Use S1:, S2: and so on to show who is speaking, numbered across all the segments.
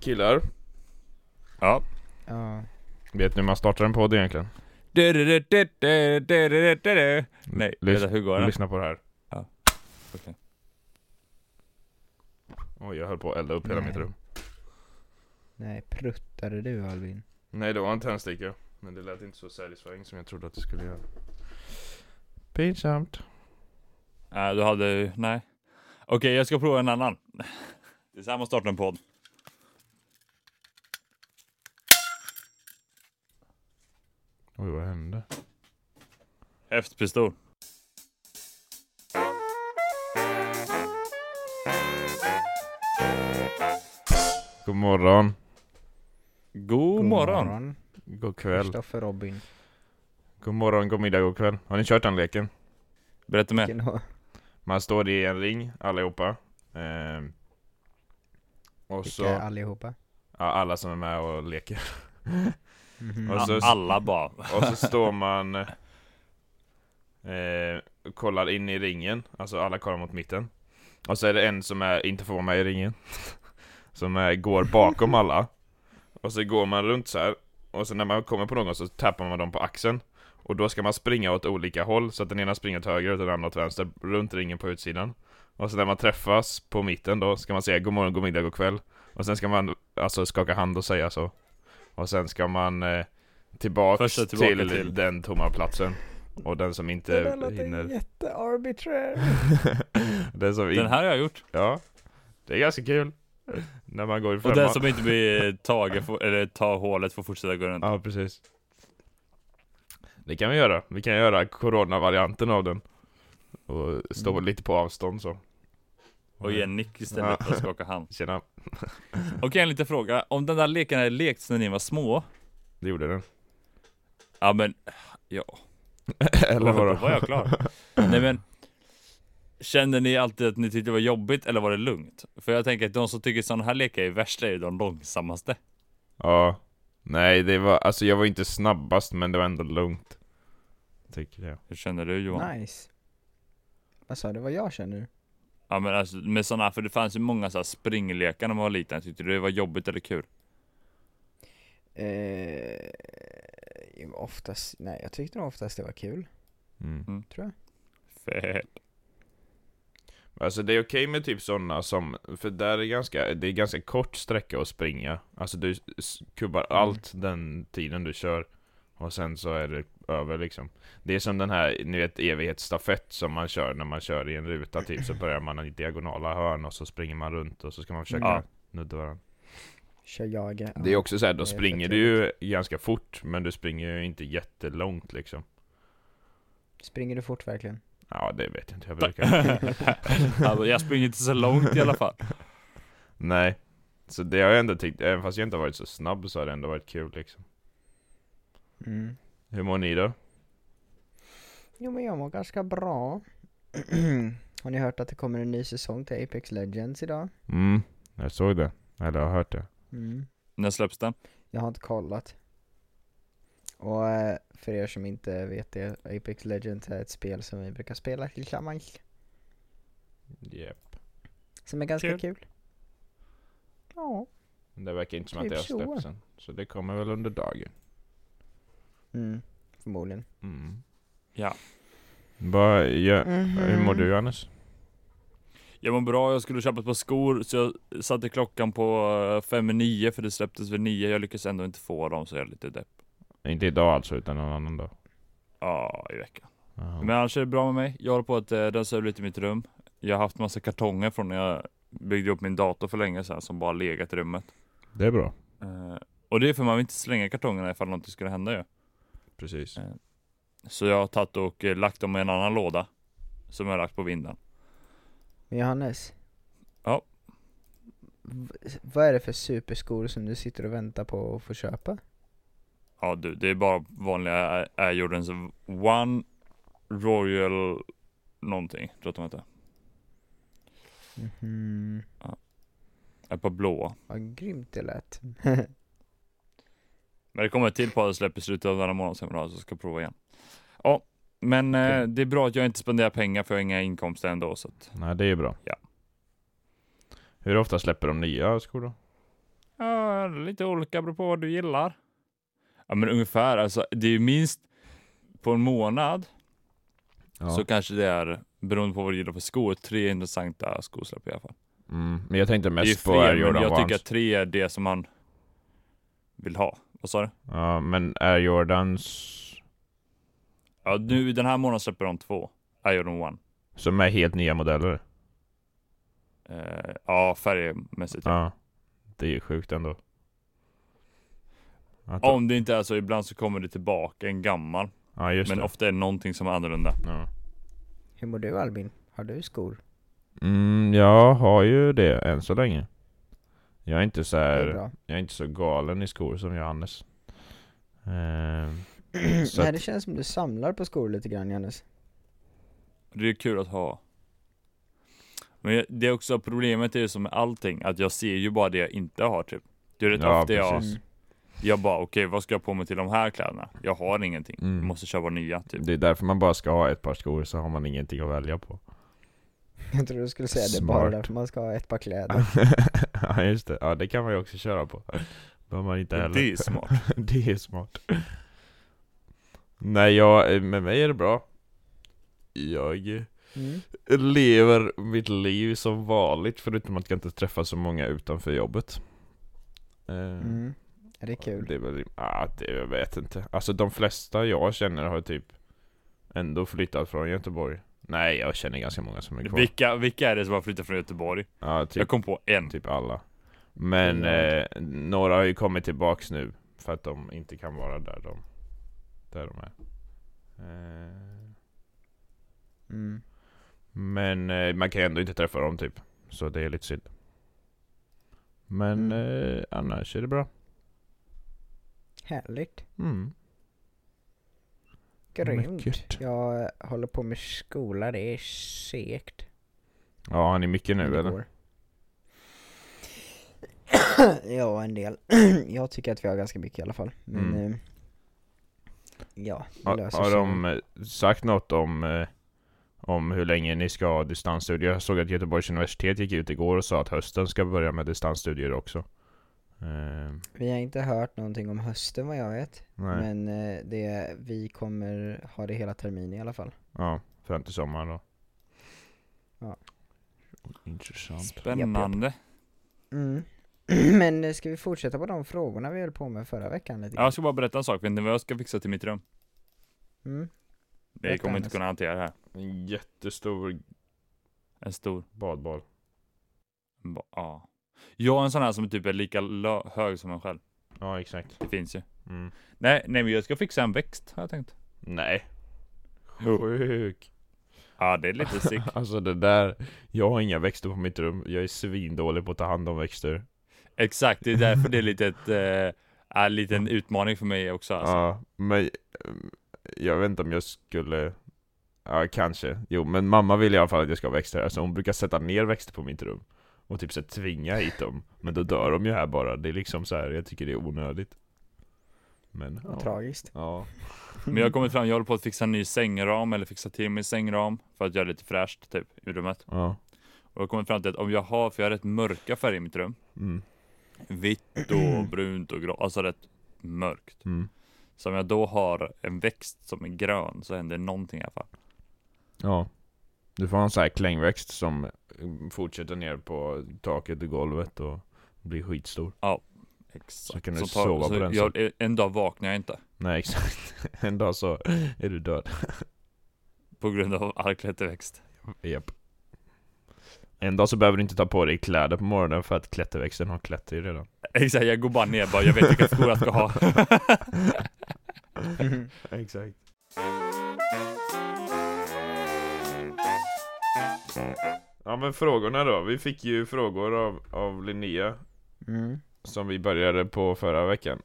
S1: Killar,
S2: Ja.
S3: Ja.
S1: vet ni hur man startar en podd egentligen?
S2: Du-du-du-du-du-du-du-du. Nej,
S1: Lys-
S2: vänta, hur går det?
S1: Lyssna på det här.
S2: Ja. Okej.
S1: Oj, jag höll på att elda upp hela
S3: Nej.
S1: mitt rum.
S3: Nej, pruttade du Albin?
S1: Nej, det var en tändsticka. Men det lät inte så satisfying som jag trodde att det skulle göra. Pinsamt.
S2: Nej, du hade... Nej. Okej, jag ska prova en annan. Det är så här man startar en podd.
S1: Oj, vad hände?
S2: Häftpistol.
S1: God morgon.
S2: God morgon.
S1: God kväll.
S3: Kristoffer Robin.
S1: God morgon, god middag, god kväll. Har ni kört den leken?
S2: Berätta mer.
S3: Vilken har-
S1: Man står i en ring, allihopa. Ehm. Och så,
S3: Vilka allihopa?
S1: ja, alla som är med och leker.
S3: Mhm.
S1: Och så-
S2: A- Alltså, Alla bara.
S1: Och så står man eh, och kollar in i ringen, alltså alla kollar mot mitten. Och så är det en som är, inte får vara med i ringen, som är, går bakom alla. Och så går man runt så här. och så när man kommer på någon så tappar man dem på axeln. Och då ska man springa åt olika håll, så att den ena springer åt höger och den andra åt vänster, runt ringen på utsidan. Och så när man träffas på mitten då, ska man säga god morgon, god middag, god kväll. Och sen ska man alltså skaka hand och säga så. Och sen ska man eh, tillbaks
S2: Första tillbaka
S1: till,
S2: till.
S1: den tomma platsen. Och den som inte hinner...
S3: jättearbiträr.
S1: den som
S2: Den
S1: inte...
S2: här har jag gjort.
S1: Ja. Det är ganska kul. När man går
S2: Och
S1: ifrån...
S2: den som inte blir tagen, får, eller tar hålet får fortsätta gå runt.
S1: Ja, precis. Det kan vi göra. Vi kan göra coronavarianten av den. Och stå
S3: Mm.
S1: lite på avstånd så.
S2: Och ge en nick istället för att skaka hand.
S1: Tjena.
S2: Okej, en liten fråga. Om den där leken hade lekts när ni var små?
S1: Det gjorde den.
S2: Ja men,
S1: Eller
S2: då
S1: vadå?
S2: var jag klar. Nej men, kände ni alltid att ni tyckte det var jobbigt eller var det lugnt? För jag tänker att de som tycker sådana här lekar är värst är ju de långsammaste.
S1: Ja. Nej, det var... Alltså jag var inte snabbast, men det var ändå lugnt. Tycker jag.
S2: Hur känner du Johan?
S3: Nice. Vad sa du? Vad jag känner?
S2: Ja men alltså med sådana, för det fanns ju många sådana springlekar när man var liten. Tyckte du det var jobbigt eller kul?
S3: Eh, jo, oftast, nej jag tyckte nog oftast det var kul,
S1: Mm.
S3: tror jag.
S2: Fett.
S1: Alltså det är okej med typ sådana som, för där är ganska, det är ganska kort sträcka att springa. Alltså du s- kubbar allt den tiden du kör. Och sen så är det över liksom. Det är som den här, ni vet evighetsstafett som man kör när man kör i en ruta typ. Så börjar man i diagonala hörn och så springer man runt och så ska man försöka
S2: Ja.
S1: nudda varandra.
S3: Kör jaga.
S1: Det är också så här, då
S3: det är
S1: springer
S3: fett
S1: du ju ganska fort. Men du springer ju inte jättelångt liksom.
S3: Springer du fort verkligen?
S1: Ja det vet jag inte, jag brukar
S2: alltså, jag springer inte så långt i alla fall.
S1: Nej. Så det har jag ändå tyckt, även fast jag inte har varit så snabb så har det ändå varit kul liksom.
S3: Mm.
S1: Hur mår ni då?
S3: Jo men jag mår ganska bra. Har ni hört att det kommer en ny säsong till Apex Legends idag?
S1: Mm, jag såg det. Eller jag har hört det.
S3: Mm.
S2: När släpps den?
S3: Jag har inte kollat. Och eh, för er som inte vet det, Apex Legends är ett spel som vi brukar spela tillsammans.
S1: Yep.
S3: Som är ganska
S2: Kul.
S3: kul. Ja.
S1: Det verkar inte som att
S3: Typ
S1: det har
S3: så.
S1: släppts än. Så det kommer väl under dagen.
S3: Mm, förmodligen.
S1: Mm.
S2: Ja.
S1: Vad gör...
S3: Mm.
S1: Hur mår du Anders?
S2: Jag mår bra, jag skulle köpa ett par skor så jag satte klockan på eh, fem i nio för det släpptes vid nio. Jag lyckades ändå inte få dem så jag är lite depp.
S1: Inte idag alltså, utan någon annan dag.
S2: Ja, Ah, i veckan.
S1: Jaha.
S2: Men annars är det bra med mig. Jag håller på att eh, rensa ur lite i mitt rum. Jag har haft massa kartonger från när jag byggde upp min dator för länge sedan som bara legat i rummet.
S1: Det är bra.
S2: Eh, och det är för man vill inte slänga kartongerna ifall någonting skulle hända ju.
S1: Precis.
S2: Så jag har tagit och eh, lagt dem i en annan låda. Som jag har lagt på vinden.
S3: Men Johannes?
S2: Ja.
S3: V- vad är det för superskor som du sitter och väntar på att få köpa?
S2: Ja du, det är bara vanliga Air- Air Jordans One Royal någonting. Tror jag att de heter.
S3: Mhm.
S2: Ett par blåa.
S3: Vad grymt det lät.
S2: Men det kommer ett till par släpp i slutet av den här månaden som jag vill ha, så jag ska prova igen. Ja, men eh,
S1: Okej.
S2: det är bra att jag inte spenderar pengar för jag har inga inkomster ändå så att
S1: Nej, det är bra.
S2: Ja.
S1: Hur ofta släpper de nya skor då?
S2: Ja, lite olika beroende på vad du gillar. Ja, men ungefär. Alltså, det är ju minst på en månad
S1: Ja.
S2: så kanske det är, beroende på vad du gillar för skor, tre intressanta skosläpp i alla fall.
S1: Mm. Men jag tänkte
S2: det är ju
S1: mest på Air
S2: fler, men
S1: Jordan
S2: jag tycker
S1: ones.
S2: att tre är det som man vill ha. Vad sa du?
S1: Ja, men Air Jordans
S2: Ja, nu den här månaden släpper de två. Air Jordan One.
S1: som är helt nya modeller.
S2: Eh, ja, färgmässigt. Ja.
S1: Ja. Det är ju sjukt ändå. Att,
S2: Om det inte är så, ibland så kommer det tillbaka en gammal.
S1: ja, just
S2: men
S1: det.
S2: ofta är det någonting som är annorlunda.
S1: Ja.
S3: Hur mår du Albin? Har du skor?
S1: Mm, jag har ju det än så länge. Jag är inte så
S3: Det
S1: här,
S3: är bra.
S1: jag är inte så galen i skor som Johannes. Eh, så
S3: Nej
S1: att-
S3: det känns som du samlar på skor lite grann Johannes.
S2: Det är kul att ha. Men jag- det är också problemet är ju som med allting, att jag ser ju bara det jag inte har typ. Det är rätt
S1: Ja,
S2: ofta jag,
S3: Mm.
S1: precis.
S2: jag bara okej vad ska jag på mig till de här kläderna? Jag har ingenting,
S1: Mm.
S2: jag måste köpa nya typ.
S1: det är därför man bara ska ha ett par skor så har man ingenting att välja på.
S3: Jag tror du skulle säga det är bara
S1: Smart.
S3: därför man ska ha ett par kläder.
S1: ja just det, ja det kan man ju också köra på. Behöver man inte heller.
S2: Det är smart.
S1: det är smart. Nej jag, med mig är det bra. Jag
S3: Mm.
S1: lever mitt liv som vanligt förutom att jag inte träffar så många utanför jobbet. Eh,
S3: Mm. Är det kul?
S1: Det är väl, ah, det, jag vet inte. Alltså de flesta jag känner har typ ändå flyttat från Göteborg. Nej jag känner ganska många som är kvar.
S2: Vilka, vilka är det som har flyttat från Göteborg?
S1: Ja, typ
S2: Jag kom på en.
S1: Typ alla. Men
S3: Ja.
S1: eh, några har ju kommit tillbaks nu för att de inte kan vara där de, där de är. Eh,
S3: Mm.
S1: men eh, man kan ju ändå inte träffa dem typ. Så det är lite synd. Men
S3: Mm.
S1: eh, annars är det bra.
S3: Härligt.
S1: Mm. Mycket.
S3: Grymt. Jag eh, håller på med skola, det är segt.
S1: Ja, har ni mycket
S3: Men
S1: nu
S3: det
S1: eller?
S3: går. ja, en del. jag tycker att vi har ganska mycket i alla fall. Men,
S1: Mm.
S3: eh, ja, det
S1: Har,
S3: löser
S1: har
S3: sig.
S1: de eh, sagt något om, eh, om hur länge ni ska ha distansstudier? Jag såg att Göteborgs universitet gick ut igår och sa att hösten ska börja med distansstudier också. Eh,
S3: Vi har inte hört någonting om hösten vad jag vet.
S1: nej.
S3: Men eh, det, vi kommer ha det hela terminen i alla fall.
S1: Ja, fram till sommaren då.
S3: Ja.
S1: Intressant.
S2: Spännande.
S3: Mm. Men eh, ska vi fortsätta på de frågorna vi höll på med förra veckan lite
S2: Ja, Jag ska bara berätta en sak, vet ni vad jag ska fixa till mitt rum?
S3: Mm.
S2: Ni
S3: Berätta,
S2: kommer inte
S3: Hannes.
S2: kunna hantera det här.
S1: En jättestor
S2: En stor,
S1: badboll.
S2: ba- ja. Jag har en sån här som typ är lika lö- hög som en själv.
S1: Ja, exakt.
S2: Det finns ju.
S1: Mm.
S2: Nej, nej men jag ska fixa en växt har jag tänkt.
S1: Nej.
S2: Jo.
S1: Sjuk.
S2: Ja det är lite sick.
S1: Alltså det där, jag har inga växter på mitt rum. Jag är svindålig på att ta hand om växter.
S2: Exakt, det är därför det är lite ett, eh, en liten utmaning för mig också alltså.
S1: Ja, men mm, jag vet inte om jag skulle... Ja, kanske. Jo, men mamma vill i alla fall att jag ska ha växter här, så hon brukar sätta ner växter på mitt rum. Och typ så här tvinga hit dem. Men då dör de ju här bara. Det är liksom så här, jag tycker det är onödigt. Men,
S3: Vad
S1: ja.
S3: tragiskt.
S1: Ja.
S2: Men jag har kommit fram, jag håller på att fixa en ny sängram eller fixa till min sängram för att göra det lite fräscht typ i rummet.
S1: ja.
S2: Och jag har kommit fram till att om jag har, för jag har rätt mörka färger i mitt rum.
S1: Mm.
S2: Vitt och brunt och grått, alltså rätt mörkt.
S1: Mm.
S2: Så om jag då har en växt som är grön så händer någonting i alla fall.
S1: Ja. Du får ha en sån här klängväxt som eh, fortsätter ner på taket och golvet och blir skitstor.
S2: Exakt.
S1: Så kan du
S2: Som
S1: sova på den
S2: jag, En dag vaknar jag inte.
S1: Nej exakt. En dag så är du död.
S2: På grund av alklätterväxt.
S1: Japp. En dag så behöver du inte ta på dig kläder på morgonen för att klätterväxten har klätt i redan.
S2: Exakt, jag går bara ner bara, jag vet vilka skor jag ska ha.
S3: Mm.
S1: Exakt. Ja men frågorna då. Vi fick ju frågor av, av Linnea
S3: Mm.
S1: som vi började på förra veckan.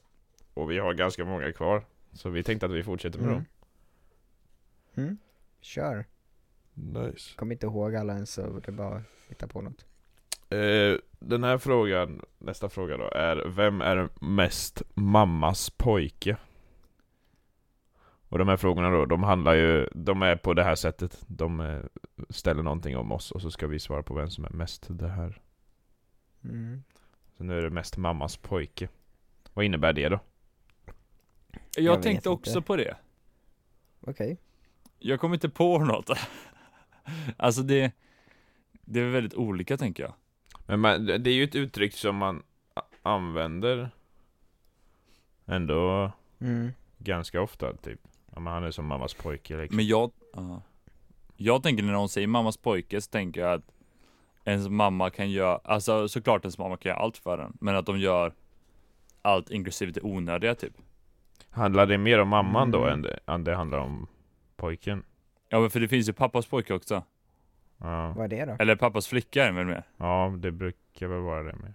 S1: Och vi har ganska många kvar. Så vi tänkte att vi fortsätter med
S3: Mm. Mm. Kör.
S1: dem. Nice.
S3: Kom inte ihåg alla ens så det är bara att hitta på något.
S1: Eh, den här frågan, nästa fråga då, är Vem är mest mammas pojke? Och de här frågorna då, de handlar ju, de är på det här sättet. De eh, ställer någonting om oss och så ska vi svara på vem som är mest det här.
S3: Mm.
S1: Så nu är det mest mammas pojke. Vad innebär det då?
S2: Jag,
S3: Jag vet
S2: tänkte
S3: inte.
S2: också på det.
S3: Okej.
S2: Jag kom inte på något. alltså det, det är väldigt olika tänker jag.
S1: Men man, det det är ju ett uttryck som man a- använder ändå
S3: Mm.
S1: ganska ofta typ. Ja, men han är som mammas pojke liksom.
S2: Men jag, ja. jag tänker när någon säger mammas pojke så tänker jag att ens mamma kan göra, alltså såklart ens mamma kan göra allt för den. Men att de gör allt inklusive det onödiga typ.
S1: Handlar det mer om mamman då
S3: Mm.
S1: än det, än det handlar om pojken?
S2: Ja men för det finns ju pappas pojke också.
S1: Ja,
S3: Vad är det då?
S2: Eller pappas flicka är det väl mer.
S1: ja det brukar väl vara det med.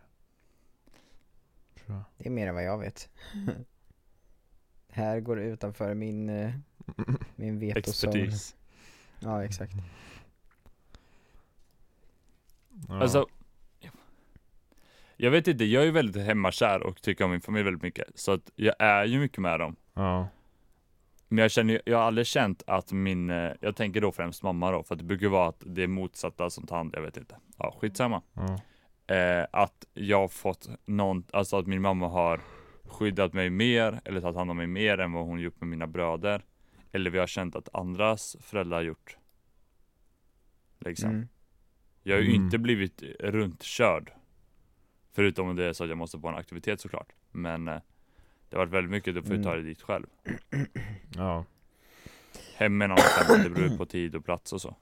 S1: Tror jag.
S3: Det är mer än vad jag vet. Här går det utanför min, eh, min vetozon.
S2: Expertis.
S3: Ja, exakt.
S1: Ja.
S2: Alltså, jag vet inte, jag är ju väldigt hemmakär och tycker om min familj väldigt mycket. Så att jag är ju mycket med dem.
S1: ja.
S2: Men jag känner ju- jag har aldrig känt att min, eh, jag tänker då främst mamma då, för att det brukar vara att det är motsatta som tar hand, jag vet inte. Ja, skitsamma.
S1: Ja.
S2: Eh, att jag har fått någon, alltså att min mamma har skyddat mig mer, eller tagit hand om mig mer än vad hon gjort med mina bröder. Eller vi har känt att andras föräldrar har gjort. Liksom.
S3: Mm.
S2: Jag har ju
S1: Mm.
S2: inte blivit runtkörd. Förutom om det är så att jag måste på en aktivitet såklart. Men eh, det har varit väldigt mycket, du får ju ta dig dit själv.
S3: Mm.
S1: ja.
S2: Hem med någon, annan, det beror ju på tid och plats och så.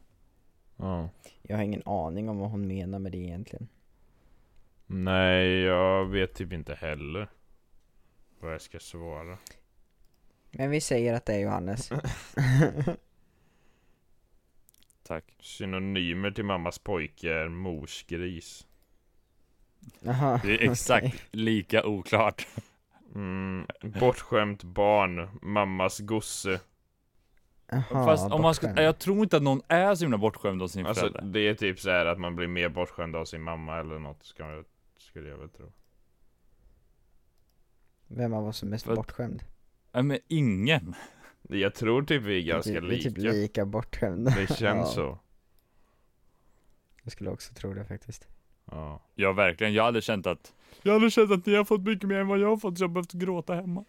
S1: ja.
S3: Jag har ingen aning om vad hon menar med det egentligen.
S1: Nej, jag vet typ inte heller vad jag ska svara.
S3: Men vi säger att det är Johannes.
S2: Tack.
S1: Synonymer till mammas pojke är morsgris.
S3: Jaha.
S2: Det är exakt lika oklart.
S1: Mm, bortskämt barn, mammas gosse.
S3: Jaha,
S2: Fast om man ska,
S3: bortskämd.
S2: jag tror inte att någon är så himla bortskämd av sin
S1: Alltså
S2: förälder.
S1: det är typ så här att man blir mer bortskämd av sin mamma eller något, ska jag, skulle jag väl tro.
S3: Vem av oss är mest
S2: För-
S3: bortskämd?
S2: Nej men ingen.
S1: Jag tror typ vi är ganska
S3: vi, vi är
S1: lika.
S3: typ lika bortskämda.
S1: Det känns
S3: Ja.
S1: så.
S3: Jag skulle också tro det faktiskt.
S1: Ja.
S2: Ja verkligen, jag har aldrig känt att Jag har aldrig känt att ni har fått mycket mer än vad jag har fått så jag har behövt gråta hemma.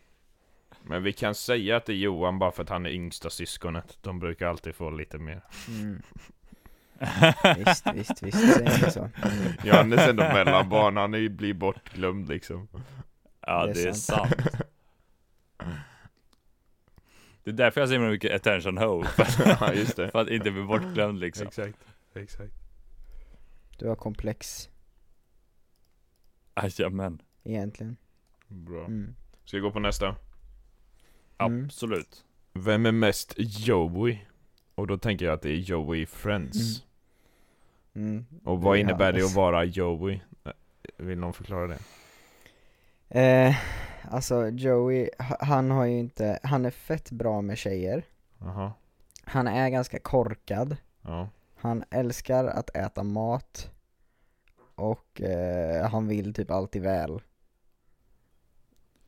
S1: Men vi kan säga att det är Johan bara för att han är yngsta syskonet. De brukar alltid få lite mer.
S3: Mm. Visst, visst, visst, säger ni så. Mm.
S1: Johannes är ändå mellanbarn, han är- blir bortglömd liksom.
S2: Ja, det är, sant. Det är därför jag har så himla mycket attention ho.
S1: ja, just det.
S2: För att inte bli bortglömd liksom.
S1: Exakt, exakt.
S3: Du har komplex,
S2: Jajamän.
S3: egentligen.
S1: Bra.
S3: Mm.
S1: Ska vi gå på nästa?
S3: Mm.
S2: Absolut.
S1: Vem är mest Joey? Och då tänker jag att det är Joey Friends.
S3: Mm.
S1: Och vad
S3: Det är
S1: innebär det
S3: Johannes.
S1: att vara Joey? Eh, Vill någon förklara det?
S3: Eh, alltså Joey, h- han har ju inte, han är fett bra med tjejer.
S1: Jaha,
S3: Han är ganska korkad.
S1: ja.
S3: Han älskar att äta mat. Och eh, han vill typ alltid väl.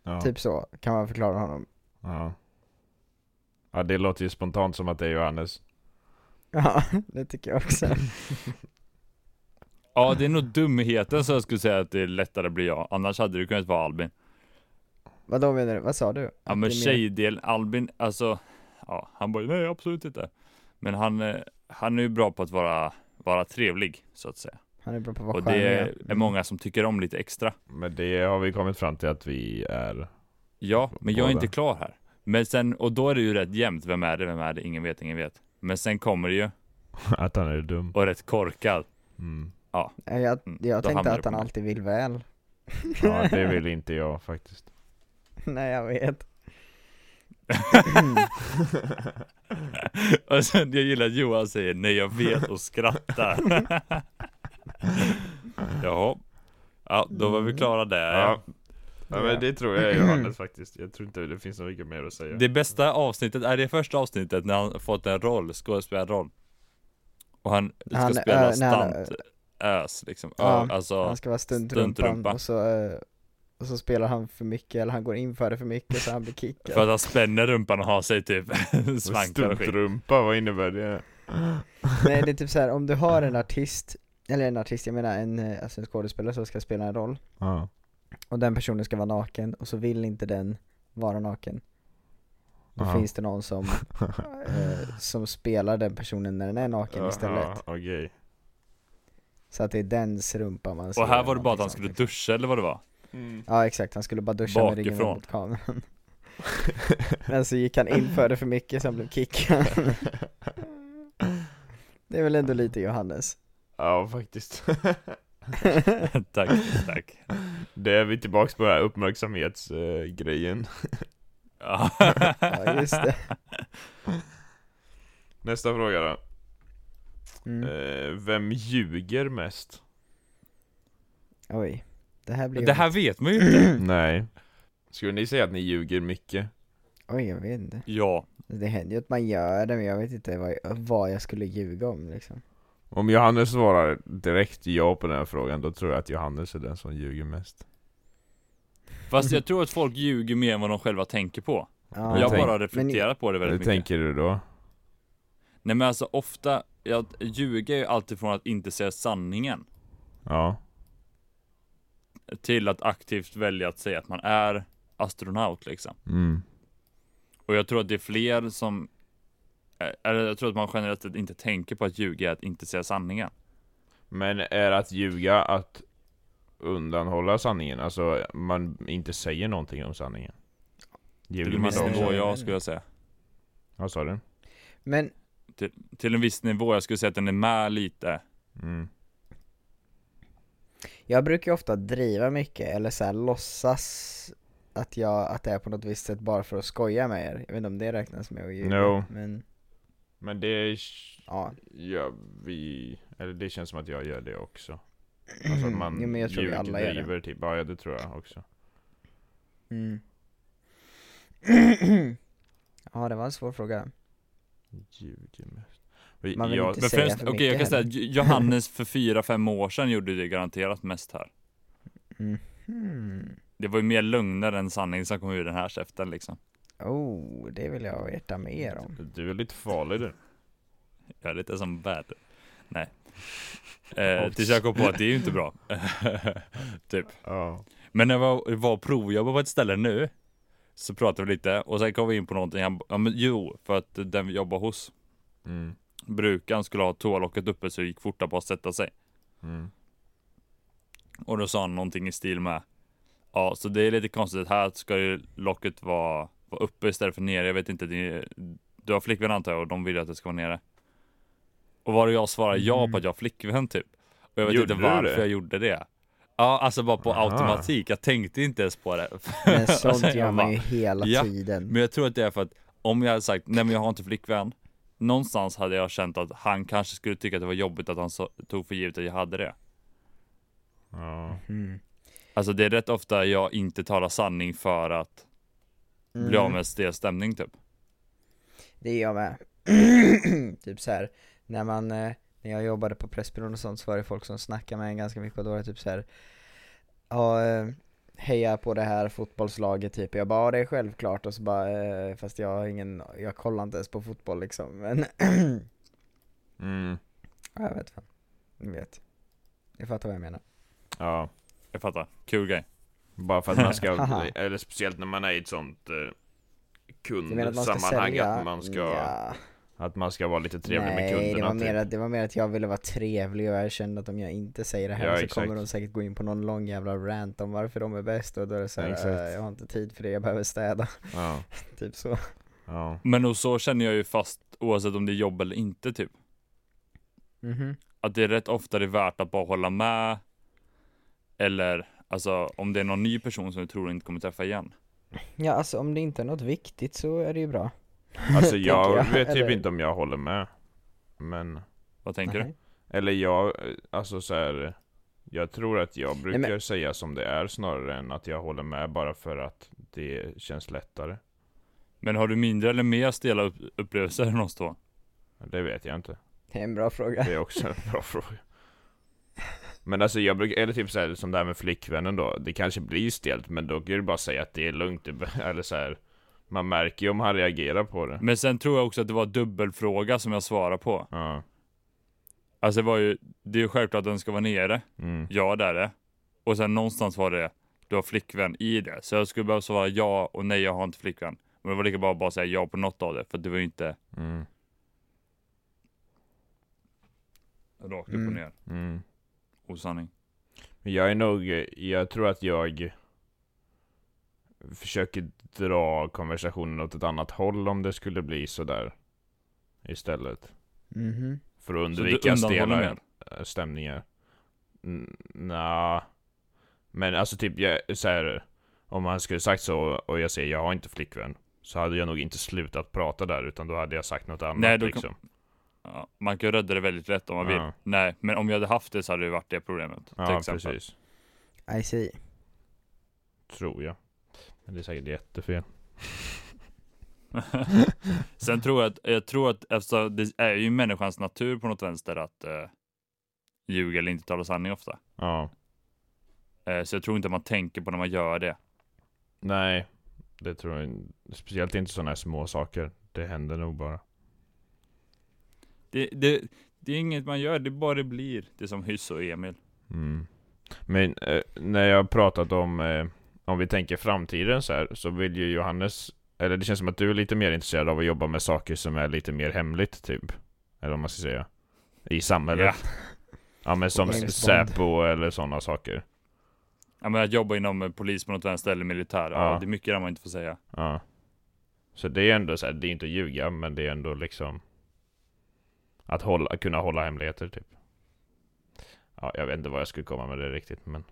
S1: Ja,
S3: Typ så kan man förklara honom.
S1: ja. ja, det låter ju spontant som att det är Johannes.
S3: Ja, det tycker jag också.
S2: Ja, det är nog dumheten så jag skulle säga att det är lättare att bli jag. Annars hade det kunnat vara Albin.
S3: Vadå menar du? Vad sa du?
S2: Ja
S3: Att
S2: men
S3: det är mer-
S2: tjejdelen, Albin, alltså. Ja, han bara nej absolut inte. Men han, eh, han är ju bra på att vara, vara trevlig så att säga.
S3: Han är bra på att vara
S2: Och det
S3: charmig, ja.
S2: är många som tycker om lite extra.
S1: Men det har vi kommit fram till att vi är.
S2: Ja, men jag är
S1: Båda.
S2: inte klar här. Men sen, och då är det ju rätt jämnt. Vem är det? Vem är det? Ingen vet, ingen vet. Men sen kommer det ju,
S1: Att han är dum.
S2: och rätt korkad.
S1: Mm.
S3: Nej, Jag,
S2: Mm,
S3: jag
S2: då
S3: tänkte
S2: hamnar
S3: att
S2: det på
S3: han
S2: mig.
S3: alltid vill väl.
S1: Ja, det vill inte jag faktiskt.
S3: Nej jag vet.
S2: Mm. och sen, jag gillar att Johan säger nej jag vet och skrattar. Jaha. Ja, då var
S3: Mm.
S2: vi klara där.
S1: Ja. ja, men det tror jag är Johannes faktiskt. Jag tror inte det finns så mycket mer att säga.
S2: Det bästa avsnittet är det första avsnittet när han fått en roll, skådespelarroll. Och han ska
S3: Han,
S2: spela
S3: äh, när han-
S2: stuntös liksom.
S3: Ja,
S2: Ö, alltså,
S3: Han ska vara stuntrumpan
S2: Stuntrumpa.
S3: och så, eh, och så spelar han för mycket eller han går in för det för mycket så han blir kickad.
S2: För att han spänner rumpan och har sig typ svankar och skit.
S1: Stumprumpa, vad innebär det?
S3: Nej det är typ så här om du har en artist eller en artist, jag menar en, eh, alltså en skådespelare som ska spela en roll
S1: Ja.
S3: och den personen ska vara naken och så vill inte den vara naken. Då
S1: Aha.
S3: finns det någon som, eh, som spelar den personen när den är naken istället.
S1: Aha, okej.
S3: Så att det är dens rumpa man ser.
S2: Och här var det
S3: när
S2: bara
S3: man
S2: att han
S3: liksom-
S2: skulle duscha eller vad det var?
S3: Ja exakt, han skulle bara duscha med ryggen
S2: Bakifrån.
S3: mot kameran. Men så gick han in för det för mycket så han blev kickad. Det är väl ändå lite Johannes.
S1: Ja, faktiskt.
S2: tack, tack.
S1: Det är vi tillbaks på den här uppmärksamhetsgrejen.
S2: Ja.
S3: Ja just det.
S1: Nästa fråga då.
S3: Mm.
S1: Eh, vem ljuger mest?
S3: Oj. Det här blir
S2: Det här vet man ju inte.
S1: Nej. Skulle ni säga att ni ljuger mycket?
S3: Oj jag vet inte.
S2: Ja,
S3: Det händer ju att man gör det men jag vet inte vad, vad jag skulle ljuga om liksom.
S1: Om Johannes svarar direkt ja på den här frågan, då tror jag att Johannes är den som ljuger mest.
S2: fast jag tror att folk ljuger mer än vad de själva tänker på.
S3: Ja,
S1: Men
S2: Jag
S1: tänk-
S2: bara reflekterar på det
S1: Hur
S2: väldigt mycket.
S1: tänker du då?
S2: Nej men alltså ofta, jag ljuger ju alltid från att inte säga sanningen
S1: Ja.
S2: till att aktivt välja att säga att man är astronaut liksom.
S1: Mm.
S2: Och jag tror att det är fler som, eh, eller jag tror att man generellt sett inte tänker på att ljuga är att inte säga sanningen.
S1: Men är att ljuga att undanhålla sanningen? Alltså, man inte säger någonting om sanningen?
S2: Till
S1: Ljuger
S2: en
S1: man
S2: viss
S1: då
S2: nivå
S1: också?
S2: ja, skulle jag säga.
S1: Vad sa du?
S3: Men
S2: Till en viss nivå, jag skulle säga att den är med lite.
S1: Mm.
S3: Jag brukar ju ofta driva mycket eller så här låtsas att, jag, att det är på något visst sätt bara för att skoja med er. Jag vet inte om det räknas med att ljuga.
S1: No.
S3: Men
S1: Men det
S3: ja.
S1: gör vi... Eller det känns som att jag gör det också. Alltså att man
S3: Mm. jo, men jag tror vi
S1: ljuger,
S3: alla gör det.
S1: driver typ. Ja, ja, det tror jag också.
S3: Mm. ja, det var en svår fråga.
S1: Ljuger mest. Vi-
S3: Man vill
S1: jag,
S3: inte
S2: Men
S3: säga
S2: främst,
S3: för
S2: okej
S3: mycket
S2: jag kan säga
S3: heller.
S2: att Jo- Johannes för fyra fem år sedan gjorde det garanterat mest här.
S3: Mm. Hmm.
S2: Det var ju mer lögner än sanning som kom ur den här käften liksom.
S3: Oh, det vill jag veta mer om.
S1: Du är lite farlig du.
S2: Jag är lite som värd. Nej. Eh, tills jag kom på att det är ju inte bra. typ.
S1: Ja.
S2: Men när jag var, var och provjobbade på ett ställe nu. Så pratade vi lite och sen kom vi in på någonting. Han, ba- ja, men, jo, för att den vi jobbar hos.
S1: Mm.
S2: Brukaren skulle ha toalocket uppe så det gick fortare på att sätta sig.
S1: Mm.
S2: Och då sa han någonting i stil med Ja, så det är lite konstigt. Här ska ju locket vara, vara uppe istället för nere. Jag vet inte. Det är, du har flickvän antar jag och de vill att det ska vara nere. Och var det jag svarar ja på att jag har flickvän typ. Och jag vet
S1: Gjorde
S2: inte
S1: du
S2: varför
S1: det?
S2: jag gjorde det. Ja, alltså bara på
S1: Aha.
S2: automatik. Jag tänkte inte ens på det.
S3: Men
S2: Alltså,
S3: sånt
S2: jag
S3: gör
S2: bara,
S3: man ju hela
S2: ja,
S3: tiden.
S2: Men jag tror att det är för att om jag hade sagt nej men jag har inte flickvän. Någonstans hade jag känt att han kanske skulle tycka att det var jobbigt att han så, tog för givet att jag hade det.
S1: Ja.
S3: Mm.
S2: Alltså det är rätt ofta jag inte talar sanning för att bli
S3: Mm.
S2: av med stel stämning typ.
S3: Det är jag med. typ så här, när man, eh, när jag jobbade på Pressbyrån och sånt så var det folk som snackade med en ganska mycket och då var det typ så här. ja eh, heja på det här fotbollslaget typ, jag bara ja det är självklart och så bara, eh, fast jag har ingen, jag kollar inte ens på fotboll liksom men,
S1: Mm.
S3: ja, jag vet fan, ni vet. Ni fattar vad jag menar.
S1: ja.
S2: Jag fattar. Kul grej.
S1: Bara för att man ska,
S3: Haha.
S1: eller speciellt när man är i ett sånt eh,
S3: Du menar att man ska
S1: kundsammanhang
S3: sälja?
S1: att man ska,
S3: ja.
S1: att man ska vara lite trevlig med
S3: Nej, det
S1: kunderna
S3: var, mer
S1: typ.
S3: att, det var mer att jag ville vara trevlig och jag kände att om jag inte säger det här
S1: Ja,
S3: så
S1: exakt.
S3: kommer de säkert gå in på någon lång jävla rant om varför de är bäst och då är det såhär,
S1: Exakt.
S3: eh, jag har inte tid för det, jag behöver städa.
S1: Ja,
S3: typ så.
S1: ja.
S2: Men och så känner jag ju fast oavsett om det är jobb eller inte typ.
S3: Mhm.
S2: Att det är rätt ofta det är värt att bara hålla med. Eller alltså om det är någon ny person som du tror du inte kommer träffa igen.
S3: Ja alltså om det inte är något viktigt så är det ju bra.
S1: Alltså
S3: Tänker
S1: jag
S3: jag,
S1: vet typ
S3: eller?
S1: inte om jag håller med. Men,
S2: Vad tänker
S3: Nej.
S1: eller jag, eh, alltså så här. Jag tror att jag brukar
S3: men-
S1: säga som det är snarare än att jag håller med bara för att det känns lättare.
S2: du? Men har du mindre eller mer stela upp- upplevelser än oss två?
S1: Det vet jag inte.
S3: Det är en bra fråga.
S1: Det är också en bra fråga. Men alltså jag brukar, eller typ såhär som det här med flickvännen då, det kanske blir stelt men då kan du bara säga att det är lugnt, det be- eller så här. Man märker ju om han
S2: Mm.
S1: reagerar på det.
S2: Men sen tror jag också att det var dubbelfråga som jag svarade på.
S1: Ja.
S2: Alltså det var ju, det är ju självklart att den ska vara nere.
S1: Mm.
S2: Ja, det är det. Och sen någonstans var det, du har flickvän i det. Så jag skulle behöva svara ja och nej, jag har inte flickvän. Men det var lika bra att bara säga ja på något av det, för det var ju inte
S1: Mm.
S2: rakt upp
S3: Mm.
S2: och ner
S1: Mm.
S2: osanning.
S1: Men Jag är nog, jag tror att jag försöker dra konversationen åt ett annat håll om det skulle bli sådär. Istället.
S3: Mhm.
S1: För att
S2: Så du
S1: undvika
S2: undanhåller
S1: stela
S2: mer?
S1: eh, stämningar. Mm, Nja. Men alltså typ, jag, så här, om han skulle sagt så och jag säger jag har inte flickvän. Så hade jag nog inte slutat prata där utan då hade jag sagt något annat
S2: Nej, då kan-
S1: liksom.
S2: Ja, man kan ju rädda det väldigt lätt om man vill.
S1: Ja.
S2: Nej, men om jag hade haft det så hade det varit det problemet. till
S1: Ja
S2: exempel.
S1: precis.
S3: I see.
S1: Tror jag. Men det är säkert jättefel.
S2: Sen tror jag att, jag tror att alltså, det är ju människans natur på något vänster att eh, ljuga eller inte tala sanning ofta.
S1: Ja.
S2: Eh, så jag tror inte man tänker på när man gör det.
S1: Nej, det tror jag inte. Speciellt inte sådana här små saker. Det händer nog bara.
S2: Det, det, det är inget man gör, det bara det blir. Det är som Hyss och Emil.
S1: Mm. Men eh, när jag har pratat om, eh, om vi tänker framtiden så här, så vill ju Johannes, eller det känns som att du är lite mer intresserad av att jobba med saker som är lite mer hemligt typ. Eller vad man ska säga. I samhället.
S2: Ja.
S1: Ja, men som
S3: James Bond.
S1: Säpo eller sådana saker.
S2: Ja, men att jobba inom eh, polis på något vänster eller militär, ja.
S1: Ja.
S2: det är mycket där man inte får säga.
S1: Ja. Så det är ändå så här, det är inte att ljuga, men det är ändå liksom att hålla, kunna hålla hemligheter typ. Ja, jag vet inte vad jag skulle komma med det riktigt, men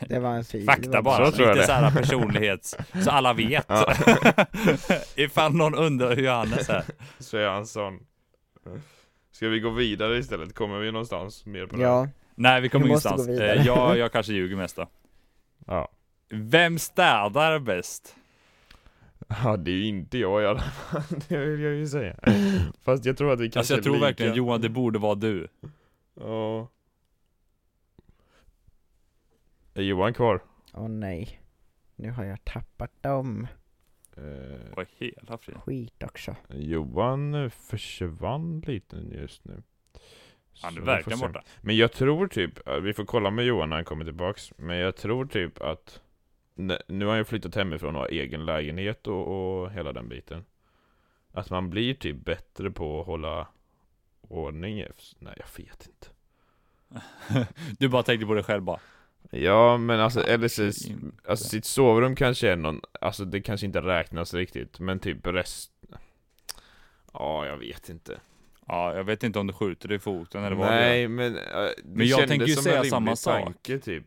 S3: Det var en fin. det
S2: Fakta
S3: var
S2: bara,
S1: Så tror jag
S2: lite
S1: det.
S2: såhär personlighets, så alla vet.
S1: Ja.
S2: Ifall någon undrar hur Johannes är.
S1: Svensson. Ska vi gå vidare istället? Kommer vi någonstans mer på det?
S3: Ja,
S2: Nej, vi kommer
S3: Vi måste
S2: ingenstans.
S3: gå vidare.
S2: Eh, jag, jag kanske ljuger mest då.
S1: Ja.
S2: Vem städar bäst?
S1: ja, det är ju inte jag i alla fall. Det vill jag ju säga. Fast jag tror att vi kanske
S2: alltså jag tror
S1: är lika.
S2: verkligen Johan, det borde vara du.
S1: Ja. Är Johan kvar?
S3: åh nej. Nu har jag tappat dem.
S1: Eh,
S2: Vad i hela friden?
S3: Skit också.
S1: Johan eh, försvann lite just nu.
S2: Han är
S1: Så vi får
S2: verkligen
S1: se.
S2: borta.
S1: Men jag tror typ, vi får kolla med Johan när han kommer tillbaks, men jag tror typ att Nä- nu har jag flyttat hemifrån och har egen lägenhet och, och hela den biten. Att man blir typ bättre på att hålla ordning. efter- Nej, jag vet inte.
S2: Du bara tänkte på dig själv bara.
S1: Ja, men alltså
S2: Ja,
S1: LSS,
S2: inte.
S1: alltså sitt sovrum kanske är någon, alltså det kanske inte räknas riktigt, men typ rest... Ja, jag vet inte.
S2: Ja, jag vet inte om du skjuter dig i foten eller vad du gör.
S1: Nej, men äh, det
S2: Men jag
S1: kändes
S2: tänker ju
S1: som
S2: säga
S1: en rimlig
S2: samma sak.
S1: tanke, typ.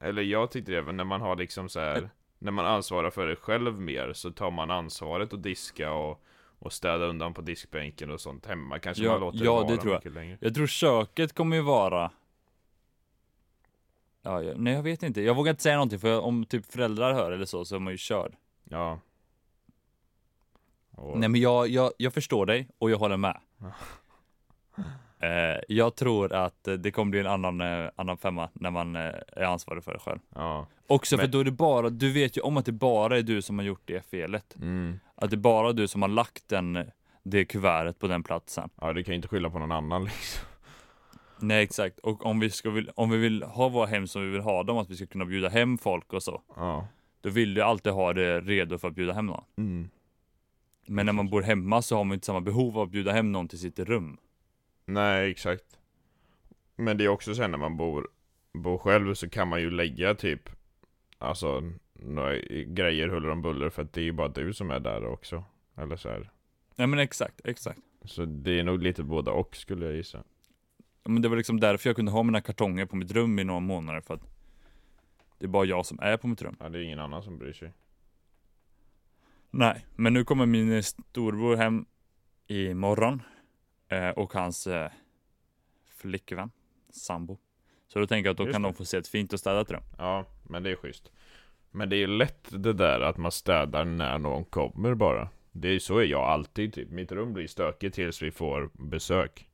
S1: Eller jag tyckte det, men när man har liksom så här, när man ansvarar för det själv mer så tar man ansvaret att diska och, och städa undan på diskbänken och sånt hemma. Kanske
S2: Ja,
S1: man låter
S2: ja,
S1: det
S2: det
S1: vara
S2: tror jag.
S1: mycket längre.
S2: Jag tror köket kommer ju vara... Ja, jag, nej jag vet inte. Jag vågar inte säga någonting för om typ föräldrar hör eller så, så är man ju körd.
S1: Ja. Och,
S2: Nej men jag, jag, jag förstår dig och jag håller med.
S1: Ja.
S2: Eh, jag tror att eh, det kommer bli en annan, eh, annan femma när man eh, är ansvarig för det själv.
S1: Ja.
S2: Också för
S1: Men-
S2: då är det bara, du vet ju om att det bara är du som har gjort det felet.
S1: Mm.
S2: Att det bara är du som har lagt den, eh, det kuvertet på den platsen.
S1: ja, du kan ju inte skylla på någon annan liksom.
S2: Nej exakt, och om vi, ska, vill- om vi vill ha våra hem som vi vill ha dem, att vi ska kunna bjuda hem folk och så.
S1: Ja.
S2: Då vill du alltid ha det redo för att bjuda hem någon.
S1: Mm.
S2: Men när man bor hemma så har man inte samma behov av att bjuda hem någon till sitt rum.
S1: Nej, exakt. Men det är också sen när man bor, bor själv så kan man ju lägga typ Alltså några grejer huller om buller för att det är ju bara du som är där också. Eller så här.
S2: Nej men exakt, exakt.
S1: Så det är nog lite båda och skulle jag gissa.
S2: Ja, Men det var liksom därför jag kunde ha mina kartonger på mitt rum i några månader för att det är bara jag som är på mitt rum.
S1: Ja, det är ingen annan som bryr sig.
S2: Nej, men nu kommer min eh, storbror hem imorgon eh, och hans eh, flickvän, sambo. Så då tänker jag att då
S1: Just
S2: kan
S1: det.
S2: de få se ett fint och städat rum.
S1: Ja, men det är schysst. Men det är lätt det där att man städar när någon kommer bara. Det är så är jag alltid typ. Mitt rum blir stökigt tills vi får besök.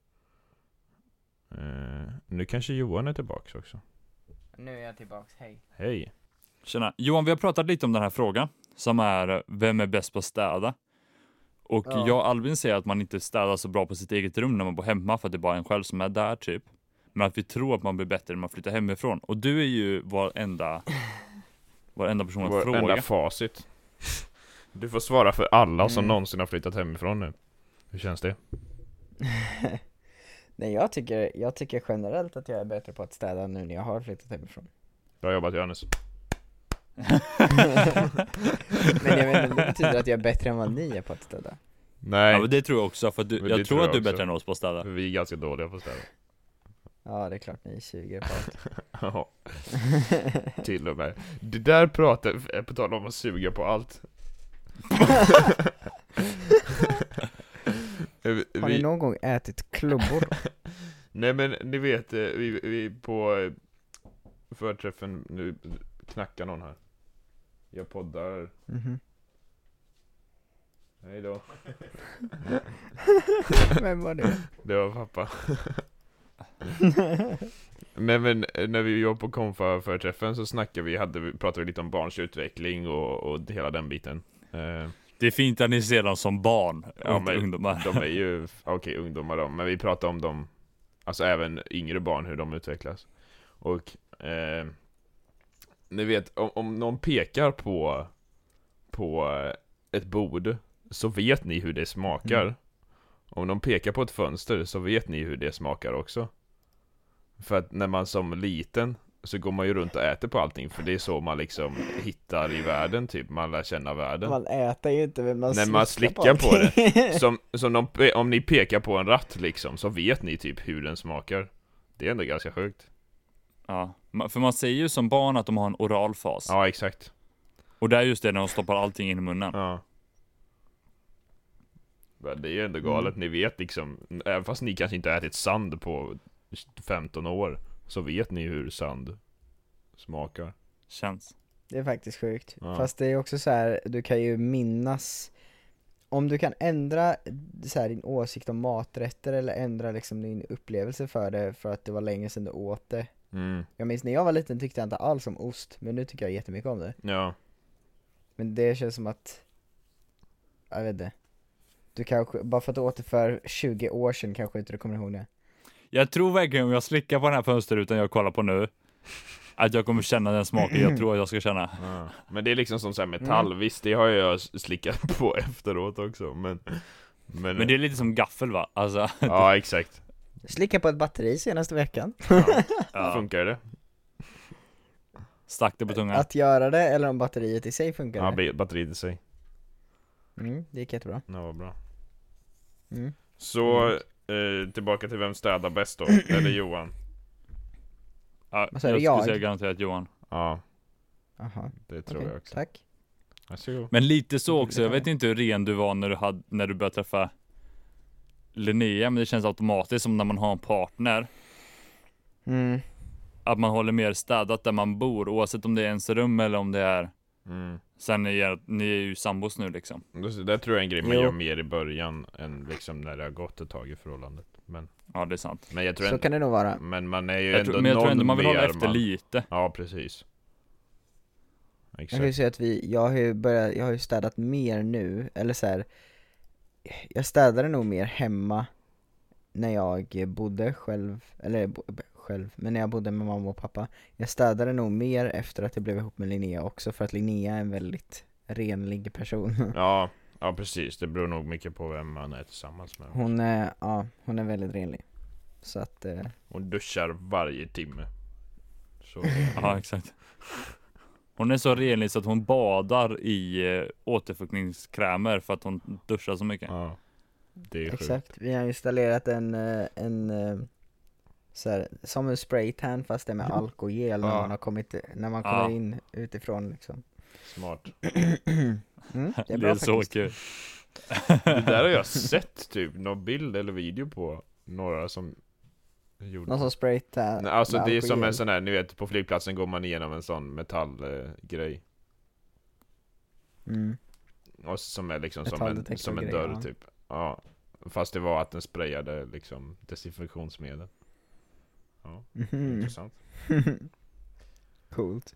S1: Eh, nu kanske Johan är tillbaks också.
S3: Nu är jag tillbaks, hej.
S1: Hej.
S2: Tjena. Johan, vi har pratat lite om den här frågan som är eh, vem är bäst på att städa? Och
S3: Ja.
S2: jag och Albin säger att man inte städar så bra på sitt eget rum när man bor hemma för att det är bara en själv som är där typ. Men att vi tror att man blir bättre när man flyttar hemifrån. Och du är ju varenda, varenda person att
S1: Vår enda
S2: fråga.
S1: facit. Du får svara för alla som
S3: Mm.
S1: någonsin har flyttat hemifrån nu. Hur känns det?
S3: Nej jag tycker, jag tycker generellt att jag är bättre på att städa nu när jag har flyttat hemifrån
S1: Bra jobbat Johannes.
S3: Men jag menar, det betyder att jag är bättre än vad ni är på att städa
S1: Nej,
S2: Ja, men det tror jag också, för att du,
S1: Men det
S2: jag tror
S1: tror
S2: att du är
S1: jag också.
S2: bättre än oss på att städa.
S1: vi är ganska dåliga på att städa.
S3: Ja det är klart ni är 20 på allt
S1: Ja, till och med. Det där pratar, eh, på tal om att suga på allt. Eh, Vi-
S3: Har ni någon gång ätit klubbor?
S1: Nej men ni vet, eh, vi, vi på eh, förträffen, nu knackar någon här. Jag poddar,
S3: Mhm.
S1: hej då.
S3: Vem var det?
S1: Det var pappa. Nej men eh, när vi var på konfa-förträffen så snackade vi, hade, vi- pratade vi lite om barns utveckling och, och hela den biten. Eh,
S2: Det är fint att ni ser dem som barn och
S1: Ja,
S2: inte
S1: men
S2: ungdomar.
S1: de är ju, okej ungdomar de, men vi pratade om dem, alltså även yngre barn, hur de utvecklas. Och, eh, ni vet, om, om någon pekar på, på eh, ett bord, så vet ni hur det smakar.
S3: Mm.
S1: Om någon pekar på ett fönster, så vet ni hur det smakar också. För att när man som liten, så går man ju runt och äter på allting, för det är så man liksom hittar i världen typ, man lär känna världen.
S3: Man äter ju inte men man
S1: Nej, man slickar på
S3: det
S1: Som, som de, om ni pekar på en ratt liksom, så vet ni typ hur den smakar. Det är ändå ganska sjukt.
S2: Ja. Ma- För man säger ju som barn att de har en oral fas.
S1: Ja, exakt.
S2: Och det är just det när de stoppar allting in i munnen.
S1: Ja. Men Det är ju ändå galet, ni vet liksom, även fast ni kanske inte har ätit sand på 15 år, så vet ni hur sand smakar.
S2: Känns.
S3: Det är faktiskt sjukt.
S1: Ja.
S3: Fast det är också så här, du kan ju minnas om du kan ändra så här, din åsikt om maträtter eller ändra liksom din upplevelse för det för att det var länge sedan du åt det.
S1: Mm,
S3: Jag minns när jag var liten tyckte jag inte alls om ost, men nu tycker jag jättemycket om det.
S1: ja.
S3: Men det känns som att, jag vet inte. Du kanske, bara för att du åt det för 20 år sedan kanske inte du kommer ihåg det.
S2: Jag tror verkligen om jag slickar på den här fönsterrutan jag kollar på nu, att jag kommer känna den smaken jag tror att jag ska känna.
S1: ja. Men det är liksom som så här metall, visst det har jag slickat på efteråt också, men... Men,
S2: Men det är lite som gaffel va? Alltså,
S1: Ja, exakt.
S3: Slicka på ett batteri senaste veckan.
S2: ja.
S1: Funkar det?
S2: stack det på tungan.
S3: Att göra det eller om batteriet i sig funkar.
S1: Ja,
S3: det.
S1: ba- batteriet i sig.
S3: Mm, det gick jättebra.
S1: Ja, vad bra.
S3: Mm.
S1: Så,
S2: Mm.
S1: eh, tillbaka till vem städar bäst då? Eller Johan?
S2: Ja, jag
S3: Vad säger
S2: skulle
S3: jag?
S2: säga garanterat Johan.
S1: Ja,
S3: Aha,
S1: det tror
S3: okej,
S1: jag också.
S3: tack.
S1: Varsågod.
S2: Men lite så också, jag
S3: Ja.
S2: vet inte hur ren du var när du, hade, när du började träffa Linnea, men det känns automatiskt som när man har en partner,
S3: Mm.
S2: att man håller mer städat där man bor, oavsett om det är ens rum eller om det är
S1: Mm.
S2: Sen ni är, ni är ju sambos nu liksom.
S1: Det där tror jag är en grej man
S3: Jo.
S1: gör mer i början än liksom när det har gått ett tag i förhållandet. Men,
S2: Ja det är sant.
S1: men jag tror
S3: Så
S1: ändå,
S3: kan det nog vara.
S1: men man är ju
S2: Jag
S1: ändå
S2: tror, men jag tror
S1: någon
S2: ändå man vill hålla
S1: mer
S2: efter
S1: man-
S2: lite.
S1: Ja, precis.
S3: Jag kan ju
S1: Exakt.
S3: säga att vi, jag har ju börjat, jag har ju städat mer nu, eller så här. Jag städade nog mer hemma när jag bodde själv, eller bo, b- själv, men när jag bodde med mamma och pappa. Jag städade nog mer efter att jag blev ihop med Linnea också, för att Linnea är en väldigt renlig person.
S1: Ja, ja, precis. Det beror nog mycket på vem man är tillsammans med.
S3: Hon är, ja, hon är väldigt renlig. Så att, eh,
S1: Hon duschar varje timme. Så,
S2: Ja exakt. Hon är så renlig så att hon badar i eh, återfuktningskrämer för att hon duschar så mycket.
S1: ja. Det är sjukt.
S3: Exakt, vi har installerat en, eh, en eh, så här, som en spraytan fast det är med alkogel när
S1: Ja.
S3: man har kommit, när man kommer
S2: Ja.
S3: in utifrån liksom
S1: Smart.
S3: mm,
S2: Det
S3: Det
S2: är,
S3: är bra
S2: så
S3: faktiskt
S2: kul.
S1: Det där har jag sett typ någon bild eller video på några som gjorde
S3: Någon som spraytan
S1: Nej, Alltså
S3: med
S1: det är som en
S3: alkogel.
S1: sån här, ni vet på flygplatsen går man igenom en sån metallgrej
S3: mm.
S1: Och som är liksom som en,
S3: Metalldetektorgrej,
S1: som en dörr
S3: ja.
S1: typ Ja Fast det var att den sprayade liksom desinfektionsmedel Ja,
S3: Mhm.
S1: intressant
S3: Coolt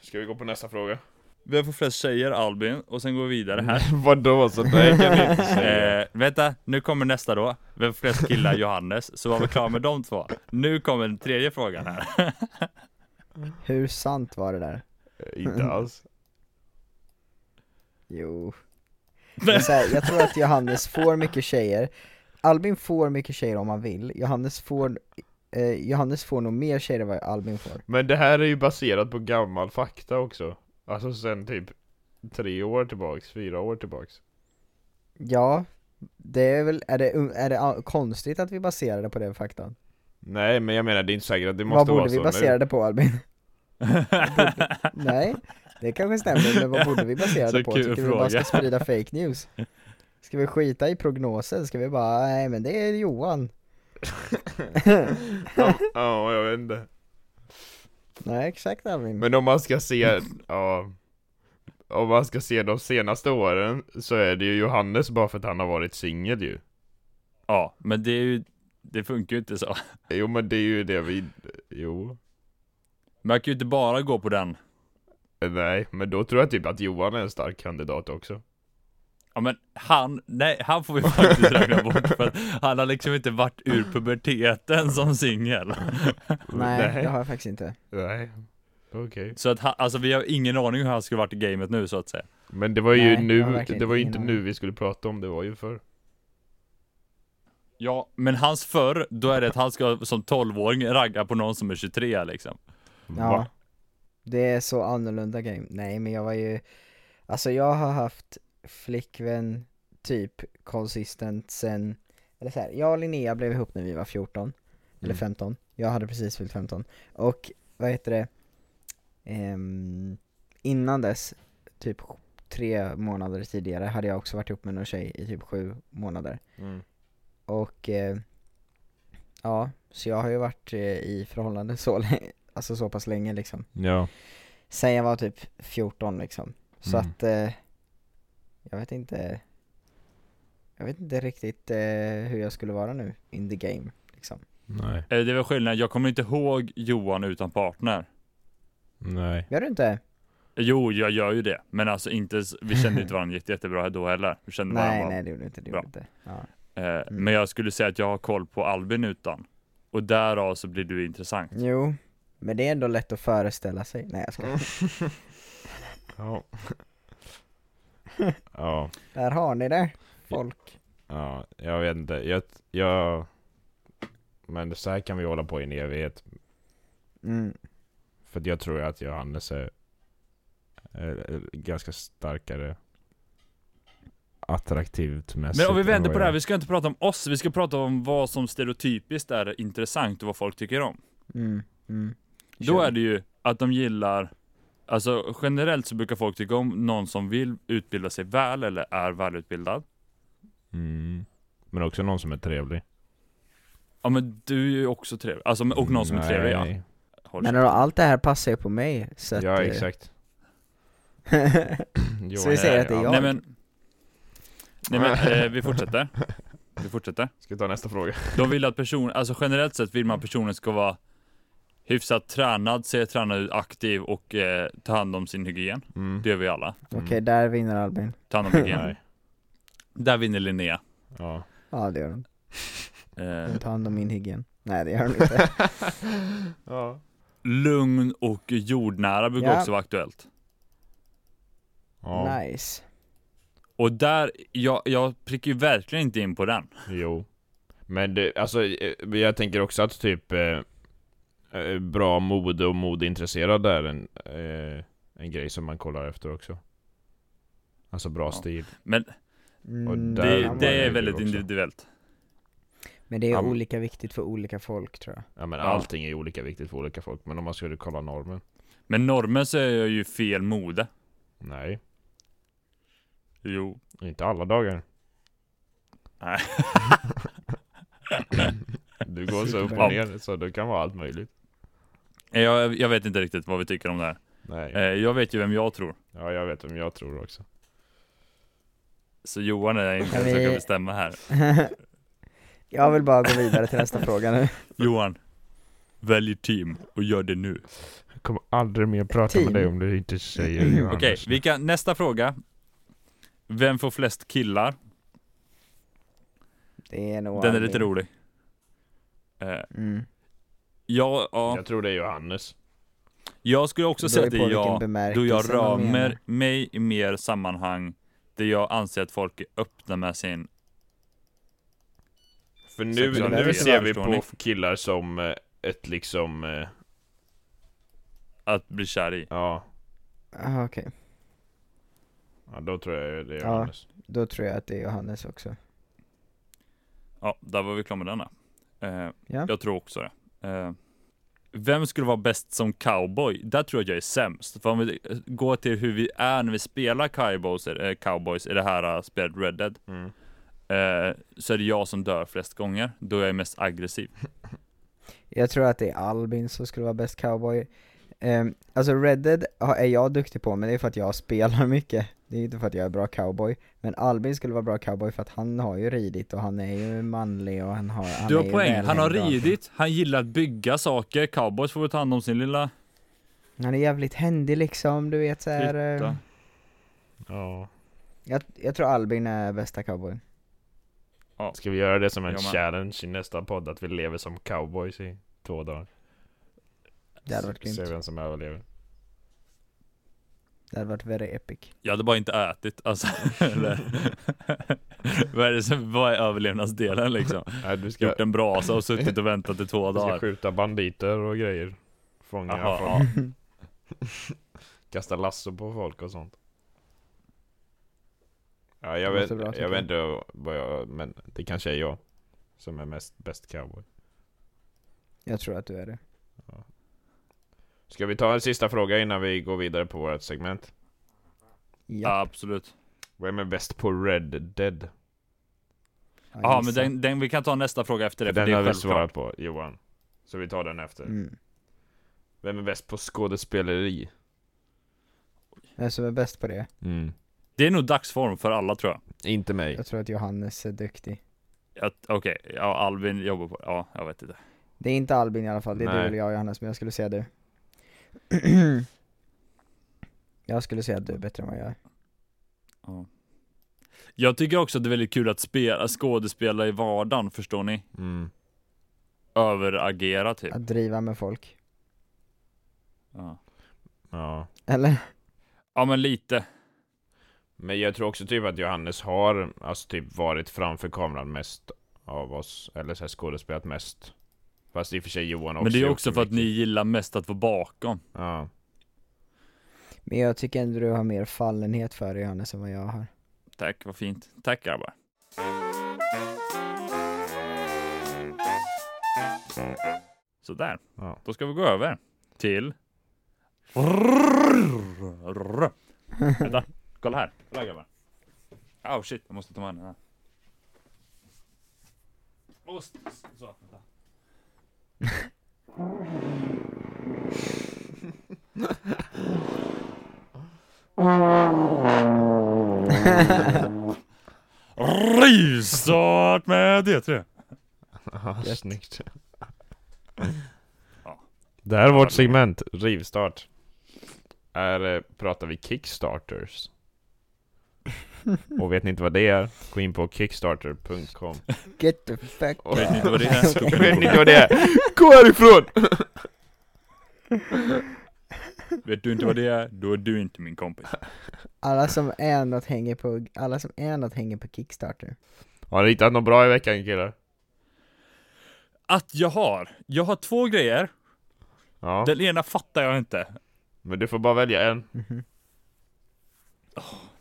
S1: Ska vi gå på nästa fråga?
S2: Vem får flest tjejer? Albin, och sen går vi vidare här
S1: Vadå sådär kan ni inte säga?
S2: Eh, vänta, nu kommer nästa då. Vem får flest killar? Johannes. Så var vi klara med de två. Nu kommer den tredje frågan här.
S3: Hur sant var det där?
S1: inte alls.
S3: Jo. Men så här, jag tror att Johannes får mycket tjejer. Albin får mycket tjejer om han vill. Johannes får, eh, Johannes får nog mer tjejer än vad Albin får.
S1: Men det här är ju baserat på gammal fakta också. Alltså sen typ tre år tillbaks, fyra år tillbaks.
S3: Ja, det är väl, är det, är det ah, konstigt att vi baserar det på den faktan?
S1: Nej men jag menar det är inte säkert att det
S3: Vad
S1: måste vara
S3: borde vi
S1: så
S3: basera
S1: nu.
S3: det på Albin? Nej, det kanske stämmer, men vad borde vi basera
S2: Så
S3: det på?
S2: kul
S3: Tycker vi bara
S2: fråga.
S3: ska sprida fake news? Ska vi skita i prognosen? Ska vi bara, nej men det är Johan?
S1: Ja, ja, jag vet inte.
S3: Nej exakt Albin.
S1: Men om man ska se, ja. Om man ska se de senaste åren så är det ju Johannes bara för att han har varit singel ju.
S2: Ja, men det är ju, det funkar ju inte så.
S1: Jo men det är ju det vi, jo.
S2: Man kan ju inte bara gå på den.
S1: Nej, men då tror jag typ att Johan är en stark kandidat också.
S2: Ja men han, nej han får vi faktiskt räkna bort för att han har liksom inte varit ur puberteten som singel.
S3: nej,
S1: nej.
S3: det har jag faktiskt inte.
S1: Nej. Okej.
S2: Så att han, alltså vi har ingen aning hur han skulle varit i gamet nu så att säga.
S1: Men det var ju
S3: Nej, jag har
S1: nu,
S3: verkligen
S1: det var ju
S3: ingen
S1: inte
S3: aning.
S1: nu vi skulle prata om, det var ju förr.
S2: Ja, men hans förr, då är det att han ska som 12-åring ragga på någon som är 23 liksom.
S3: Ja.
S1: Va?
S3: Det är så annorlunda game. Nej men jag var ju, alltså jag har haft flickvän typ konsistent sen, eller så här, jag och Linnea blev ihop när vi var 14, eller
S1: Mm.
S3: 15, jag hade precis fyllt 15. Och vad heter det, Ehm, innan dess, typ sj- tre månader tidigare, hade jag också varit ihop med någon tjej i typ sju månader.
S1: Mm.
S3: Och eh, ja, så jag har ju varit eh, i förhållande så länge, alltså så pass länge liksom
S1: Ja.
S3: sen jag var typ 14 liksom. Så
S1: Mm.
S3: att, eh, jag vet inte, jag vet inte riktigt eh, hur jag skulle vara nu in the game liksom.
S1: Nej.
S2: Eh, Det är väl skillnaden, jag kommer inte ihåg Johan utan partner. Eh,
S1: Nej.
S3: Gör du inte?
S2: Jo, jag gör ju det. Men alltså inte, s- vi kände inte varandra jätte, jättebra då heller. Vi kände
S3: Nej
S2: varandra.
S3: nej Mm. det gjorde du inte, det gjorde
S2: Bra.
S3: du inte. Ja.
S2: Eh, Men jag skulle säga att jag har koll på Albin utan. Och därav så blir du intressant.
S3: Jo, men det är ändå lätt att föreställa sig. Nej jag ska.
S1: Ja. ja.
S3: Där har ni det, folk.
S1: Ja, jag vet inte. Jag, jag... Men så här kan vi hålla på i en evighet.
S3: Mm.
S1: För att jag tror att Johannes är, är, är ganska starkare attraktivt mässigt.
S2: Men om vi
S1: än
S2: vänder
S1: vad
S2: på det här,
S1: jag-
S2: vi ska inte prata om oss, vi ska prata om vad som stereotypiskt är intressant och vad folk tycker om.
S3: Mm. Mm.
S2: Då är det ju att de gillar, alltså generellt så brukar folk tycka om någon som vill utbilda sig väl eller är välutbildad.
S1: Mm. Men också någon som är trevlig.
S2: Ja men du är ju också trevlig, alltså men- och någon som är trevlig ja.
S1: Nej.
S2: Håll
S3: Men
S2: käften.
S3: då, allt det här passar ju på mig, så att,
S1: Ja,
S3: eh,
S1: exakt. Johan
S3: Så vi säger att det är jag?
S2: Nej men, nej, men eh, vi fortsätter. Vi fortsätter.
S1: Ska vi ta nästa fråga?
S2: De vill att personen, alltså generellt sett vill man att personen ska vara hyfsat tränad, se tränad ut, aktiv och eh, ta hand om sin hygien.
S1: Mm.
S2: Det gör vi alla.
S3: Okej, där vinner Albin.
S2: Ta hand om hygien.
S1: Nej.
S2: Där vinner Linnea.
S1: Ja.
S3: Ja det gör han.
S2: Eh,
S3: Han tar hand om min hygien. Nej det gör han inte.
S1: ja.
S2: lugn och jordnära brukar
S3: Ja.
S2: också vara aktuellt.
S1: ja.
S3: Nice.
S2: Och där, jag, jag prickar ju verkligen inte in på den.
S1: Jo. Men det, alltså, eh, jag tänker också att typ eh, eh, bra mode och modeintresserad är en, eh, en grej som man kollar efter också. Alltså bra
S2: Ja.
S1: stil.
S2: Men
S1: Och
S3: Mm,
S1: Där
S2: det,
S1: var
S2: det
S1: det
S2: är
S1: ju
S2: väldigt
S1: också.
S2: individuellt.
S3: Men det är
S1: Ja, men-
S3: olika viktigt för olika folk tror jag.
S1: Ja men
S2: Ja.
S1: allting är olika viktigt för olika folk, men om man skulle kolla normen?
S2: Men normen så är jag ju fel mode.
S1: Nej,
S2: Jo.
S1: inte alla dagar.
S2: Nej.
S1: Du går så upp
S3: Ja.
S1: och ner, så det kan vara allt möjligt.
S2: Jag, jag vet inte riktigt vad vi tycker om det här.
S1: Nej,
S2: Eh, jag vet ju vem jag tror.
S1: ja jag vet vem jag tror också.
S2: Så Johan är inte
S3: Kan
S2: den som
S3: vi-
S2: kan bestämma här.
S3: jag vill bara gå vidare till nästa fråga nu.
S2: Johan, Välj team och gör det nu.
S1: Jag kommer aldrig mer prata
S3: Team.
S1: med dig om du inte säger det
S2: Okej, vi kan, nästa fråga. Vem får flest killar?
S3: Det är nog
S2: Den är
S3: aldrig-
S2: lite rolig. Eh,
S3: Mm.
S2: ja, ja,
S1: Jag tror det är Johannes.
S2: jag skulle också säga att det är jag. Då jag rör
S3: römer
S2: mig i mer sammanhang där jag anser att folk är öppna med sin...
S1: För nu,
S2: Sexualitet.
S1: nu ser vi
S2: Förstår ni?
S1: på killar som eh, ett liksom, eh,
S2: Att bli kär i.
S1: ja,
S3: Aha, Ah, okej,
S1: ja, då tror jag det är
S3: Ja.
S1: Johannes.
S3: då tror jag att det är Johannes också
S2: Ja, där var vi klara med denna. Eh,
S3: Ja.
S2: Jag tror också det. Eh, vem skulle vara bäst som cowboy? Där tror jag att jag är sämst. För om vi eh, går till hur vi är när vi spelar cowboys, eh, cowboys i det här eh, spelet Red Dead.
S1: Mm.
S2: Eh, så är det jag som dör flest gånger, då jag är mest aggressiv.
S3: Jag tror att det är Albin som skulle vara bäst cowboy Ehm, Alltså Red Dead ja, är jag duktig på, men det är för att jag spelar mycket Det är inte för att jag är bra cowboy Men Albin skulle vara bra cowboy för att han har ju ridit och han är ju manlig och han har han
S2: Du
S3: är
S2: har
S3: ju
S2: poäng,
S3: väldigt
S2: han har
S3: bra.
S2: ridit, han gillar att bygga saker, cowboys får väl ta hand om sin lilla
S3: Han är jävligt händig liksom, du vet såhär
S2: Flytta.
S3: eh,
S1: Ja.
S3: jag, jag tror Albin är bästa cowboy
S1: Ska vi göra det som en
S2: Jag med.
S1: challenge i nästa podd, att vi lever som cowboys i två dagar?
S3: Det hade varit
S1: Se- Se
S3: grymt,
S1: vem som överlever.
S3: det hade varit very epic
S2: Jag hade bara inte ätit alltså. Eller, vad, är det som, vad är överlevnadsdelen liksom?
S1: Nej, du ska,
S2: Gjort en brasa och suttit och väntat i två
S1: du ska
S2: dagar.
S1: skjuta banditer och grejer. Fånga
S2: Jaha,
S1: folk,
S2: ja.
S1: kasta lasso på folk och sånt. Ja, jag
S3: Det
S1: vet,
S3: låter bra, tycker
S1: jag vet
S3: jag.
S1: inte vad jag, men det kanske är jag. Som är mest bäst cowboy.
S3: Jag tror att du är det
S1: Ska vi ta en sista fråga innan vi går vidare på vårt segment?
S3: Ja,
S2: ja, absolut.
S1: Vem är bäst på Red Dead?
S3: jag
S2: Ja, men
S3: gissar.
S2: den, den, vi kan ta nästa fråga efter det, för
S1: den
S2: det
S1: har
S2: är
S1: vi svarat
S2: självklart.
S1: på, Johan. Så vi tar den efter.
S3: mm.
S1: Vem är bäst på skådespeleri?
S3: Vem som är bäst på det?
S2: Mm. Det är nog dagsform för alla tror jag.
S1: Inte mig.
S3: Jag tror att Johannes är duktig
S2: Att- Okej, ja, Alvin jobbar på Ja, jag vet inte.
S3: Det är inte Albin i alla fall, det är
S1: Nej.
S3: du eller jag Johannes, men jag skulle säga du Jag skulle säga att du är bättre än vad jag är
S2: Jag tycker också att det är väldigt kul att spela, skådespela i vardagen, förstår ni?
S1: Mm.
S2: Överagera typ.
S3: Att driva med folk,
S2: Ja,
S1: Ja.
S3: eller?
S2: ja men lite.
S1: Men jag tror också typ att Johannes har alltså typ varit framför kameran mest av oss. Eller så här skådespelat mest. Fast i och för sig Johan också.
S2: Men det är
S1: gjort
S2: också för att ni
S1: mycket.
S2: gillar mest att vara bakom.
S1: Ja.
S3: Men jag tycker ändå du har mer fallenhet för det Johannes än vad jag har
S2: Tack, vad fint. Tack grabbar. Sådär.
S1: Ja.
S2: Då ska vi gå över till... Vänta, kolla här. Kolla grabbar. Åh oh, shit, jag måste ta med den här. Åh, s- s- så. Vänta. Rivstart med D3!
S1: Aha,
S3: Gött.
S1: snyggt.
S2: Ja.
S1: Det här är vårt segment, rivstart. Här eh, pratar vi Kickstarters.
S3: Mm.
S1: Och vet ni inte vad det är? Gå in på kickstarter.com
S3: Get the fuck
S1: Oj.
S2: Vet ni
S1: Jag vet inte
S2: inte vad det är?
S1: vad det är. Gå härifrån!
S2: Vet du inte vad det är, då är du inte min kompis.
S3: Alla som är något hänger på, alla som är något hänger på Kickstarter
S1: Har ni hittat något bra i veckan killar?
S2: Att jag har, jag har två grejer.
S1: Ja,
S2: Den ena fattar jag inte.
S1: men du får bara välja en.
S3: Mhm.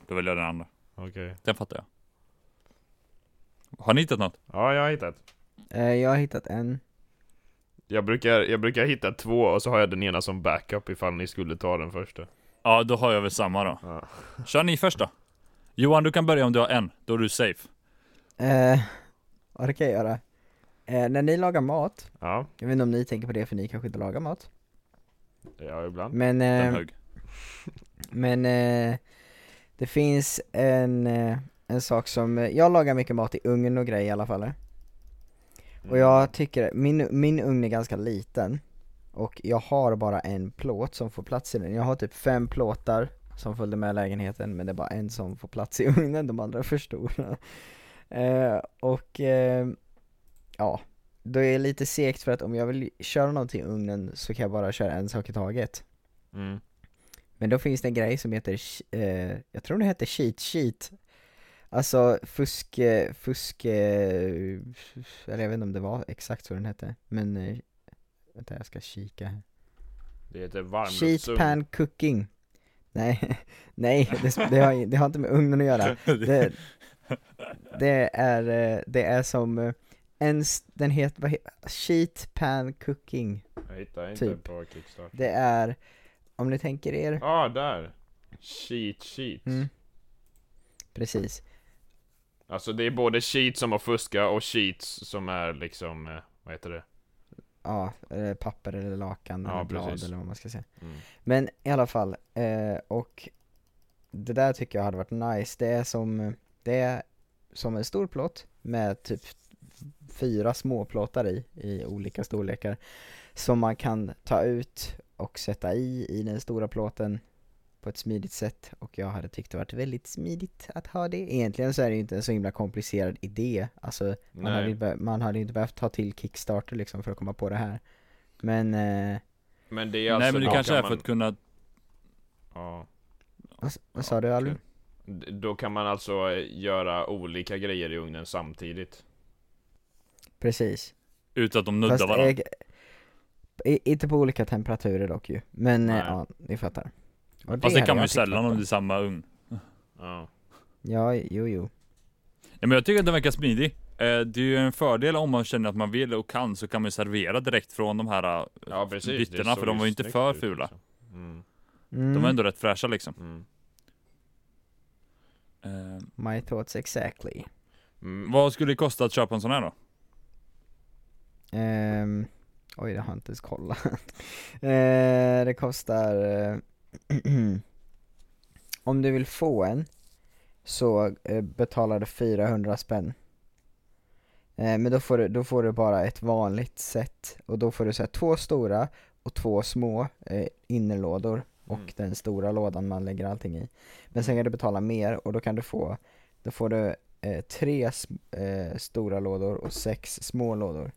S2: Då väljer jag den andra.
S1: Okej.
S2: Den fattar jag. Har ni hittat något?
S1: Ja, jag har hittat.
S3: Eh, Jag har hittat en,
S1: Jag brukar, jag brukar hitta två och så har jag den ena som backup ifall ni skulle ta den första.
S2: Ja, då har jag väl samma då.
S1: Ja.
S2: Kör ni först då. Johan, du kan börja om du har en. Då är du safe.
S3: eh, ja det kan jag göra eh, När ni lagar mat,
S1: Ja,
S3: jag vet inte om ni tänker på det för ni kanske inte lagar mat
S1: ja ibland.
S3: Men,
S2: Den
S3: eh,
S2: hög.
S3: men eh, det finns en, eh, en sak som, jag lagar mycket mat i
S1: Mm.
S3: ugn och grejer i alla fall eh. Och jag tycker, min, min ugn är ganska liten Och jag har bara en plåt som får plats i den. Jag har typ fem plåtar som följde med lägenheten men det är bara en som får plats i ugnen, de andra är för stora. Eh, och eh, ja, då är det lite segt för att om jag vill köra någonting i ugnen så kan jag bara köra en sak i taget.
S1: Mm.
S3: Men då finns det en grej som heter, eh, jag tror det heter cheat sheet Alltså fusk, eh, fusk, eh, eller jag vet inte om det var exakt så den hette, men eh, vänta jag ska kika här
S1: Det heter
S3: Sheet
S1: varmluftsugn.
S3: pan cooking Nej, nej det, sp- det, har, det har inte med ugnen att göra det, det är, eh, det är som eh, en, s- den heter, vad he- sheet pan cooking
S1: Jag hittar inte
S3: typ.
S1: på Kickstarter.
S3: Det är, om ni tänker er
S1: Ah, där! Cheat sheet.
S3: Mm. Precis.
S1: Alltså det är både cheat som har fuska och cheats som är liksom, eh, vad heter det?
S3: Ja, eller papper eller lakan
S1: Ja,
S3: eller blad
S1: precis.
S3: eller vad man ska säga.
S1: Mm.
S3: Men i alla fall, eh, och det där tycker jag hade varit nice. Det är som, det är som en stor plåt med typ fyra små plåtar i, i olika storlekar. Som man kan ta ut och sätta i, i den stora plåten på ett smidigt sätt och jag hade tyckt det varit väldigt smidigt att ha det. Egentligen så är det ju inte en så himla komplicerad idé, alltså man hade,
S1: Nej,
S3: ju be- man hade ju inte behövt ta till Kickstarter liksom för att komma på det här. Men, eh,
S1: men det är alltså...
S2: Nej men det
S1: då
S2: kanske
S1: kan
S2: är för
S1: man-
S2: att kunna
S1: Ja.
S3: vad, s- vad sa du Albin?
S1: D- Då kan man alltså eh, göra olika grejer i ugnen samtidigt.
S3: Precis.
S2: Utan att de nuddar varandra
S3: eh, i- inte på olika temperaturer dock ju. Men eh,
S1: Nej.
S3: ja, ni fattar. Och
S2: Fast det
S3: hade
S2: kan man
S3: jag
S2: ju
S3: tyckt
S2: sällan om
S3: var bra.
S2: det är samma ugn
S1: Ja.
S3: Ja, jo jo.
S2: Ja, men jag tycker att den verkar smidig. Eh, Det är ju en fördel om man känner att man vill och kan så kan man ju servera direkt från de här. eh,
S1: Ja precis.
S2: Byttorna,
S1: Det
S2: för
S1: såg
S2: de var ju inte
S1: snyggt
S2: för
S1: ut,
S2: fula.
S1: liksom. Mm.
S3: Mm,
S2: De är ändå rätt fräscha liksom.
S1: Mm.
S2: Eh,
S3: Mm, My thoughts exactly.
S1: Mm.
S2: Vad skulle det kosta att köpa en sån här då?
S3: Ehm, oj, det har jag inte ens kollat. Eh, det kostar... eh, om du vill få en så eh, betalar du 400 spänn. Eh, men då får, du, då får du bara ett vanligt set och då får du så här, två stora och två små eh, innerlådor och
S1: Mm.
S3: den stora lådan man lägger allting i. Men sen kan du betala mer och då kan du få, då får du eh, tre sm- eh, stora lådor och sex små lådor.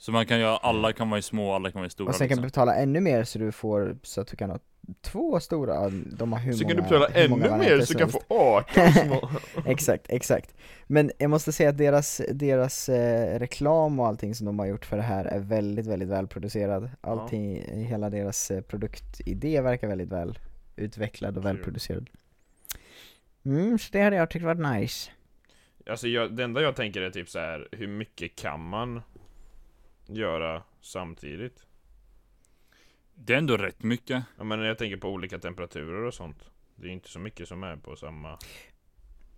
S2: Så man kan göra, alla kan vara i små, alla kan vara i stora
S3: Och sen kan
S2: liksom.
S3: du betala ännu mer så du får, så att du kan ha två stora, de har hur
S1: Så
S3: många
S1: kan du betala
S3: hur många
S1: ännu mer
S3: varianter
S1: så
S3: som
S1: du kan
S3: helst.
S1: få 18 små.
S3: Exakt, exakt. Men jag måste säga att deras, deras eh, reklam och allting som de har gjort för det här är väldigt, väldigt välproducerad. Allting, hela deras eh, produktidé verkar väldigt väl utvecklad och
S1: Kul.
S3: välproducerad. Mm, så det hade jag tyckt varit nice.
S1: Alltså jag, det enda jag tänker är typ så här hur mycket kan man göra samtidigt?
S2: Det är ändå rätt mycket.
S1: Ja men jag tänker på olika temperaturer och sånt. Det är inte så mycket som är på samma...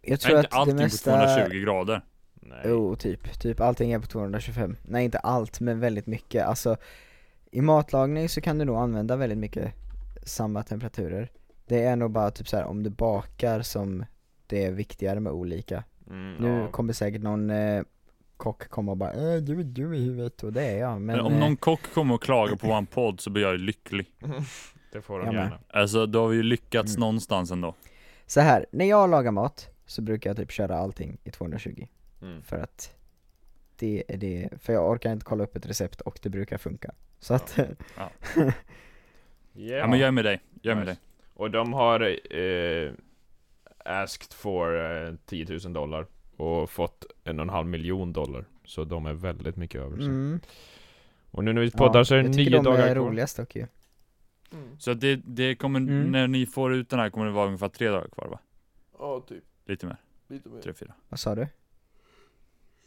S3: Jag
S2: är
S3: tror
S2: inte
S3: att det
S2: allting på
S3: mesta...
S2: 220 grader.
S1: Nej.
S3: Jo, typ. Typ allting är på 225. Nej, inte allt, men väldigt mycket. Alltså, i matlagning så kan du nog använda väldigt mycket samma temperaturer. Det är nog bara typ så här om du bakar som det är viktigare med olika.
S1: Mm,
S3: Nu
S1: ja.
S3: kommer säkert någon eh, kock komma och bara äh, du är dum i huvudet och det är jag. Men,
S2: Men, om
S3: eh,
S2: någon kock kommer och klagar på vår podd så blir jag ju lycklig.
S1: Det får de
S3: Jag med.
S1: gärna.
S2: Alltså då har vi ju lyckats
S3: Mm.
S2: någonstans ändå.
S3: Så här, när jag lagar mat så brukar jag typ köra allting i 220.
S1: Mm.
S3: För att det är det, för jag orkar inte kolla upp ett recept och det brukar funka. Så att,
S2: Ja,
S1: Yeah.
S2: men jag är med dig. Jag är med
S1: Nice.
S2: dig.
S1: Och de har eh, asked for eh, 10 000 dollar och fått en och en halv miljon dollar. Så de är väldigt mycket över sig.
S3: mm.
S1: Och nu när vi poddar så är det
S3: jag tycker
S1: nio
S3: de
S1: dagar
S3: är
S1: kvar.
S3: roligast dock ju.
S2: Så att det, det kommer,
S3: Mm.
S2: när ni får ut den här kommer det vara ungefär tre dagar kvar va?
S1: Ja, typ.
S2: Lite mer.
S1: Lite mer.
S2: Tre, fyra.
S3: Vad sa du?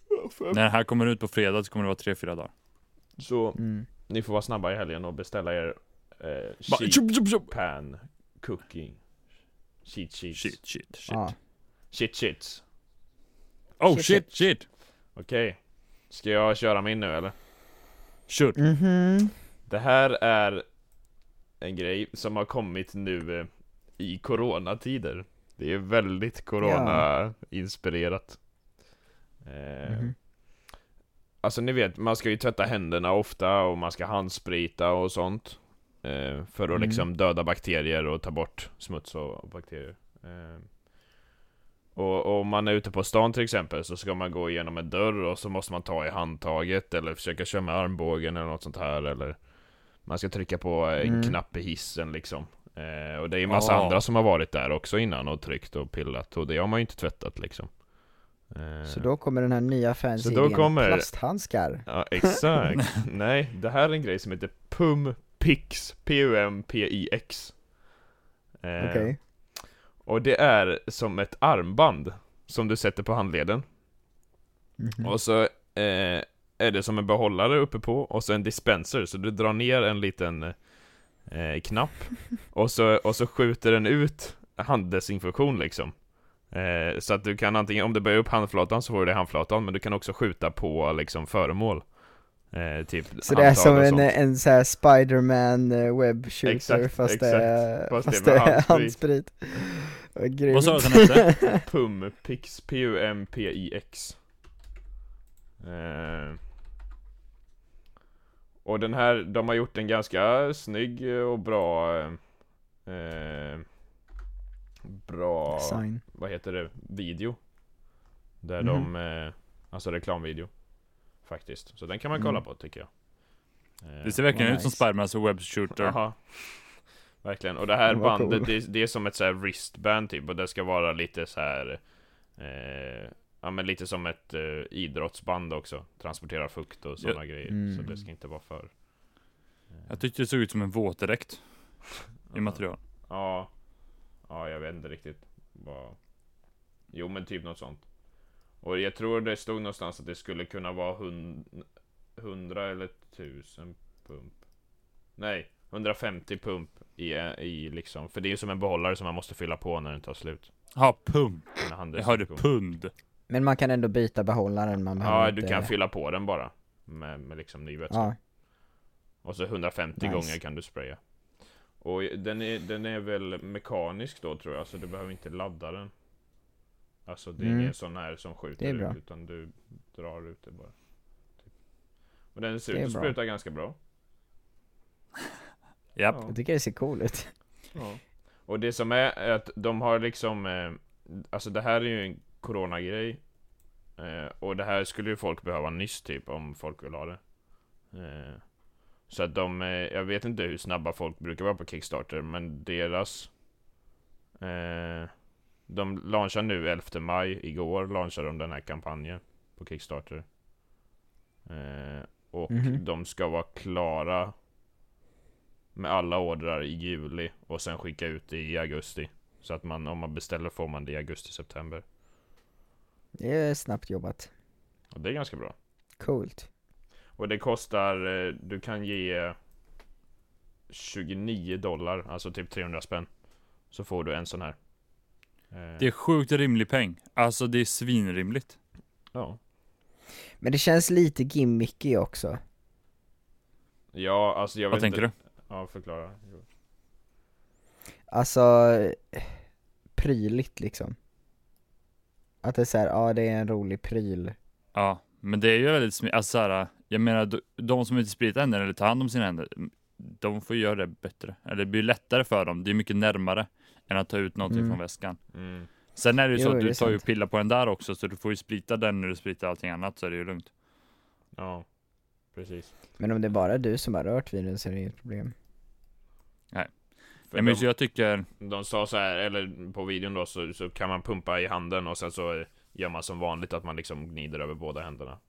S1: Oh,
S2: När den här kommer ut på fredag så kommer det vara tre, fyra dagar.
S1: Så
S3: Mm.
S1: ni får vara snabba i helgen och beställa er eh,
S2: Bara,
S1: sheet
S2: tjup, tjup, tjup.
S1: pan cooking. Sheet sheets. Shit
S2: Shit, shit, shit.
S3: Ja.
S1: shit sheets.
S2: Oh
S3: Shit,
S2: shit, shit!
S1: Okej. Ska jag köra min nu eller?
S2: Shoot. Mm-hmm.
S3: Mhm.
S1: Det här är en grej som har kommit nu eh, i coronatider. Det är väldigt corona-inspirerat. Eh,
S3: Mhm.
S1: Alltså ni vet, man ska ju tvätta händerna ofta och man ska handsprita och sånt. Eh, för att
S2: Mm.
S1: liksom döda bakterier och ta bort smuts och, och bakterier. Eh, och och om man är ute på stan till exempel så ska man gå igenom en dörr och så måste man ta i handtaget eller försöka köra med armbågen eller något sånt här eller Man ska trycka på en
S3: Mm.
S1: knapp i hissen liksom. Eh, och det är ju massa
S2: Ja.
S1: andra som har varit där också innan och tryckt och pillat och det har man ju inte tvättat liksom. Eh,
S3: Så då kommer den här nya fancy
S1: då
S3: idén,
S1: kommer-
S3: plasthandskar.
S1: Ja, exakt. Nej, det här är en grej som heter PUMPIX. P-U-M-P-I-X. Eh,
S3: Okej.
S1: Och det är som ett armband som du sätter på handleden.
S3: Mhm.
S1: Och så eh, är det som en behållare uppe på och så en dispenser, så du drar ner en liten eh, knapp och så, och så skjuter den ut handdesinfektion liksom. Eh, så att du kan antingen, om du böjer upp handflatan så får du det i handflatan, men du kan också skjuta på liksom föremål. Eh, typ
S3: Så det är
S1: handtag
S3: som
S1: och
S3: en,
S1: sånt.
S3: en så här Spiderman eh, webshooter
S1: Exakt,
S3: fast,
S1: exakt.
S3: Det, är-
S1: Fast
S3: fast,
S1: det är
S3: det
S1: med
S3: är
S1: handsprit.
S3: handsprit. Vad grymt.
S2: Vad sa du att den hette?
S1: Pumpix, P-U-M-P-I-X eh. Och den här, de har gjort en ganska snygg och bra eh, eh, Bra,
S3: Sign.
S1: vad heter det, video Där
S3: Mhm.
S1: de, eh, alltså reklamvideo Faktiskt, så den kan man kolla
S3: Mm.
S1: på tycker jag Eh,
S2: Det ser verkligen
S3: Vad
S2: ut som
S3: nice.
S2: Spidermans och webbshooter.
S1: Jaha. Verkligen, och det här
S3: Det var
S1: bandet,
S3: cool.
S1: det, det är som ett så här wristband typ, och det ska vara lite så här eh, Ja men lite som ett eh, idrottsband också, transportera fukt och sådana grejer, så
S3: Mm.
S1: det ska inte vara för eh,
S2: Jag tyckte det såg ut som en våtdräkt i material.
S1: Ja, ja jag vet inte riktigt vad Jo men typ något sånt Och jag tror det stod någonstans att det skulle kunna vara hun- 100 eller 1000 pump Nej, 150 pump i, i liksom För det är ju som en behållare som man måste fylla på när den tar slut
S2: Ja, pump.
S1: När handen-
S2: Jag hörde pund.
S3: Men man kan ändå byta behållaren, man behöver
S1: Ja,
S3: inte...
S1: du kan fylla på den bara Med, med liksom ny vätska
S3: Ja,
S1: Och så 150
S3: Nice.
S1: gånger kan du spraya. Och den är, den är väl mekanisk då tror jag, så du behöver inte ladda den. Alltså det är
S3: Mm.
S1: ingen sån här som skjuter
S3: Det är bra.
S1: ut, utan du drar ut det bara. Typ. Och den ser
S3: Det
S1: ut
S3: är
S1: att
S3: bra.
S1: spruta ganska bra.
S2: Japp.
S1: Ja.
S3: jag tycker det ser cool ut.
S1: Och det som är, är att de har liksom, eh, alltså det här är ju en coronagrej. Eh, och det här skulle ju folk behöva nyss typ, om folk vill ha det. Eh, så att de, eh, jag vet inte hur snabba folk brukar vara på Kickstarter, men deras... Eh, de launchar nu 11 maj, igår launchade de den här kampanjen på Kickstarter. Eh, och
S3: Mhm.
S1: de ska vara klara med alla ordrar i juli och sen skicka ut det i augusti. Så att man, om man beställer får man det i augusti-september.
S3: Det är snabbt jobbat.
S1: Och det är ganska bra.
S3: Coolt.
S1: Och det kostar, eh, du kan ge 29 dollar, alltså typ 300 spänn. Så får du en sån här. Eh,
S2: Det är sjukt rimlig peng. Alltså det är svinrimligt.
S1: ja.
S3: Men det känns lite gimmicky också.
S1: ja, alltså jag
S2: Vad
S1: vet
S2: tänker
S1: inte.
S2: du?
S1: Ja, förklara. Jo.
S3: Alltså, eh, pryligt liksom. Att det är såhär, ja det är en rolig pryl.
S2: Ja, men det är ju väldigt smidigt. Alltså så här, jag menar d- de som inte spritar händerna eller tar hand om sina händer, de får göra det bättre. Eller det blir lättare för dem. Det är mycket närmare än att ta ut någonting
S3: Mm.
S2: från väskan.
S1: Mm.
S2: Sen är det ju så
S3: Jo,
S2: att
S3: det
S2: du
S3: är
S2: tar ju
S3: sant.
S2: pilla på den där också, så du får ju sprita den när du spritar allting annat så är det ju lugnt.
S1: Ja, precis.
S3: Men om det är bara du som har rört vid den så är det inget problem.
S1: För
S2: Nej, men
S1: de-
S2: så jag tycker,
S1: De sa så här, eller på videon då, så, så kan man pumpa i handen och sen så gör man som vanligt att man liksom gnider över båda händerna.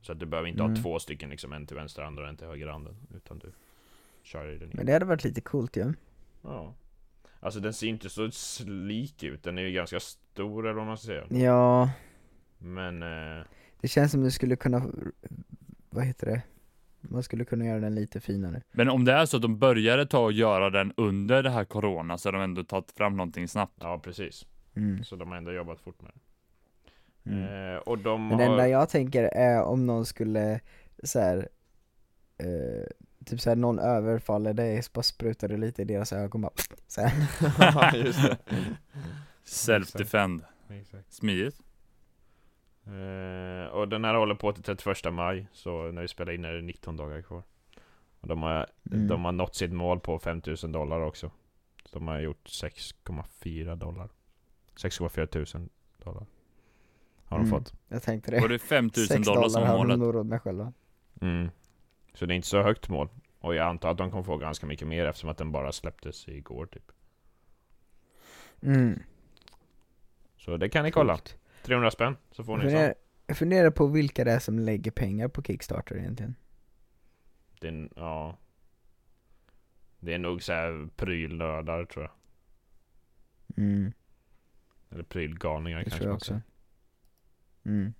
S1: Så att du behöver inte ha
S3: Mm.
S1: två stycken liksom, en till vänster andra och en till höger handen. Utan du kör i den
S3: Men
S1: ena.
S3: det hade varit lite coolt ju. Ja.
S1: Ja. Alltså den ser inte så slik ut, den är ju ganska stor eller vad man ska säga.
S3: ja,
S1: Men, eh,
S3: det känns som du skulle kunna, vad heter det? Man skulle kunna göra den lite finare.
S2: men om det är så att de började ta och göra den under det här corona så har de ändå tagit fram någonting snabbt.
S1: ja precis.
S3: Mm.
S1: Så de har ändå jobbat fort med det.
S3: Mm.
S1: Eh, och de
S3: Men det
S1: har...
S3: enda jag tänker är om någon skulle så här, eh, typ såhär någon överfaller dig, så bara sprutar det lite i deras ögon bara så här.
S1: Ja, just det.
S2: Self-defend.
S1: Exakt.
S2: Smidigt.
S1: Eh, och den här håller på till 31 maj, så när vi spelar in är det 19 dagar kvar. Och de har,
S3: Mm.
S1: de har nått sitt mål på 5000 dollar också. Så de har gjort 6,4 dollar. 6,4 tusen dollar. Har de
S3: Mm.
S1: fått.
S3: Jag tänkte
S2: Var
S3: det.
S2: det 5000
S3: Sex
S2: dollar som var
S3: hade de
S2: målet?
S3: nog råd med själva.
S1: Mm. Så det är inte så högt mål. Och jag antar att de kommer få ganska mycket mer eftersom att den bara släpptes igår typ.
S3: Mm.
S1: Så det kan ni kolla.
S3: Sjukt.
S1: 300 spänn så får
S3: Jag
S1: ni en sån.
S3: funderar, jag funderar på vilka det är som lägger pengar på Kickstarter egentligen.
S1: Det är, ja. Det är nog såhär prylnördar tror jag.
S3: Mm,
S1: Eller prylgalningar
S3: det
S1: kanske
S3: tror jag
S1: man
S3: också.
S1: säger.
S3: Mm.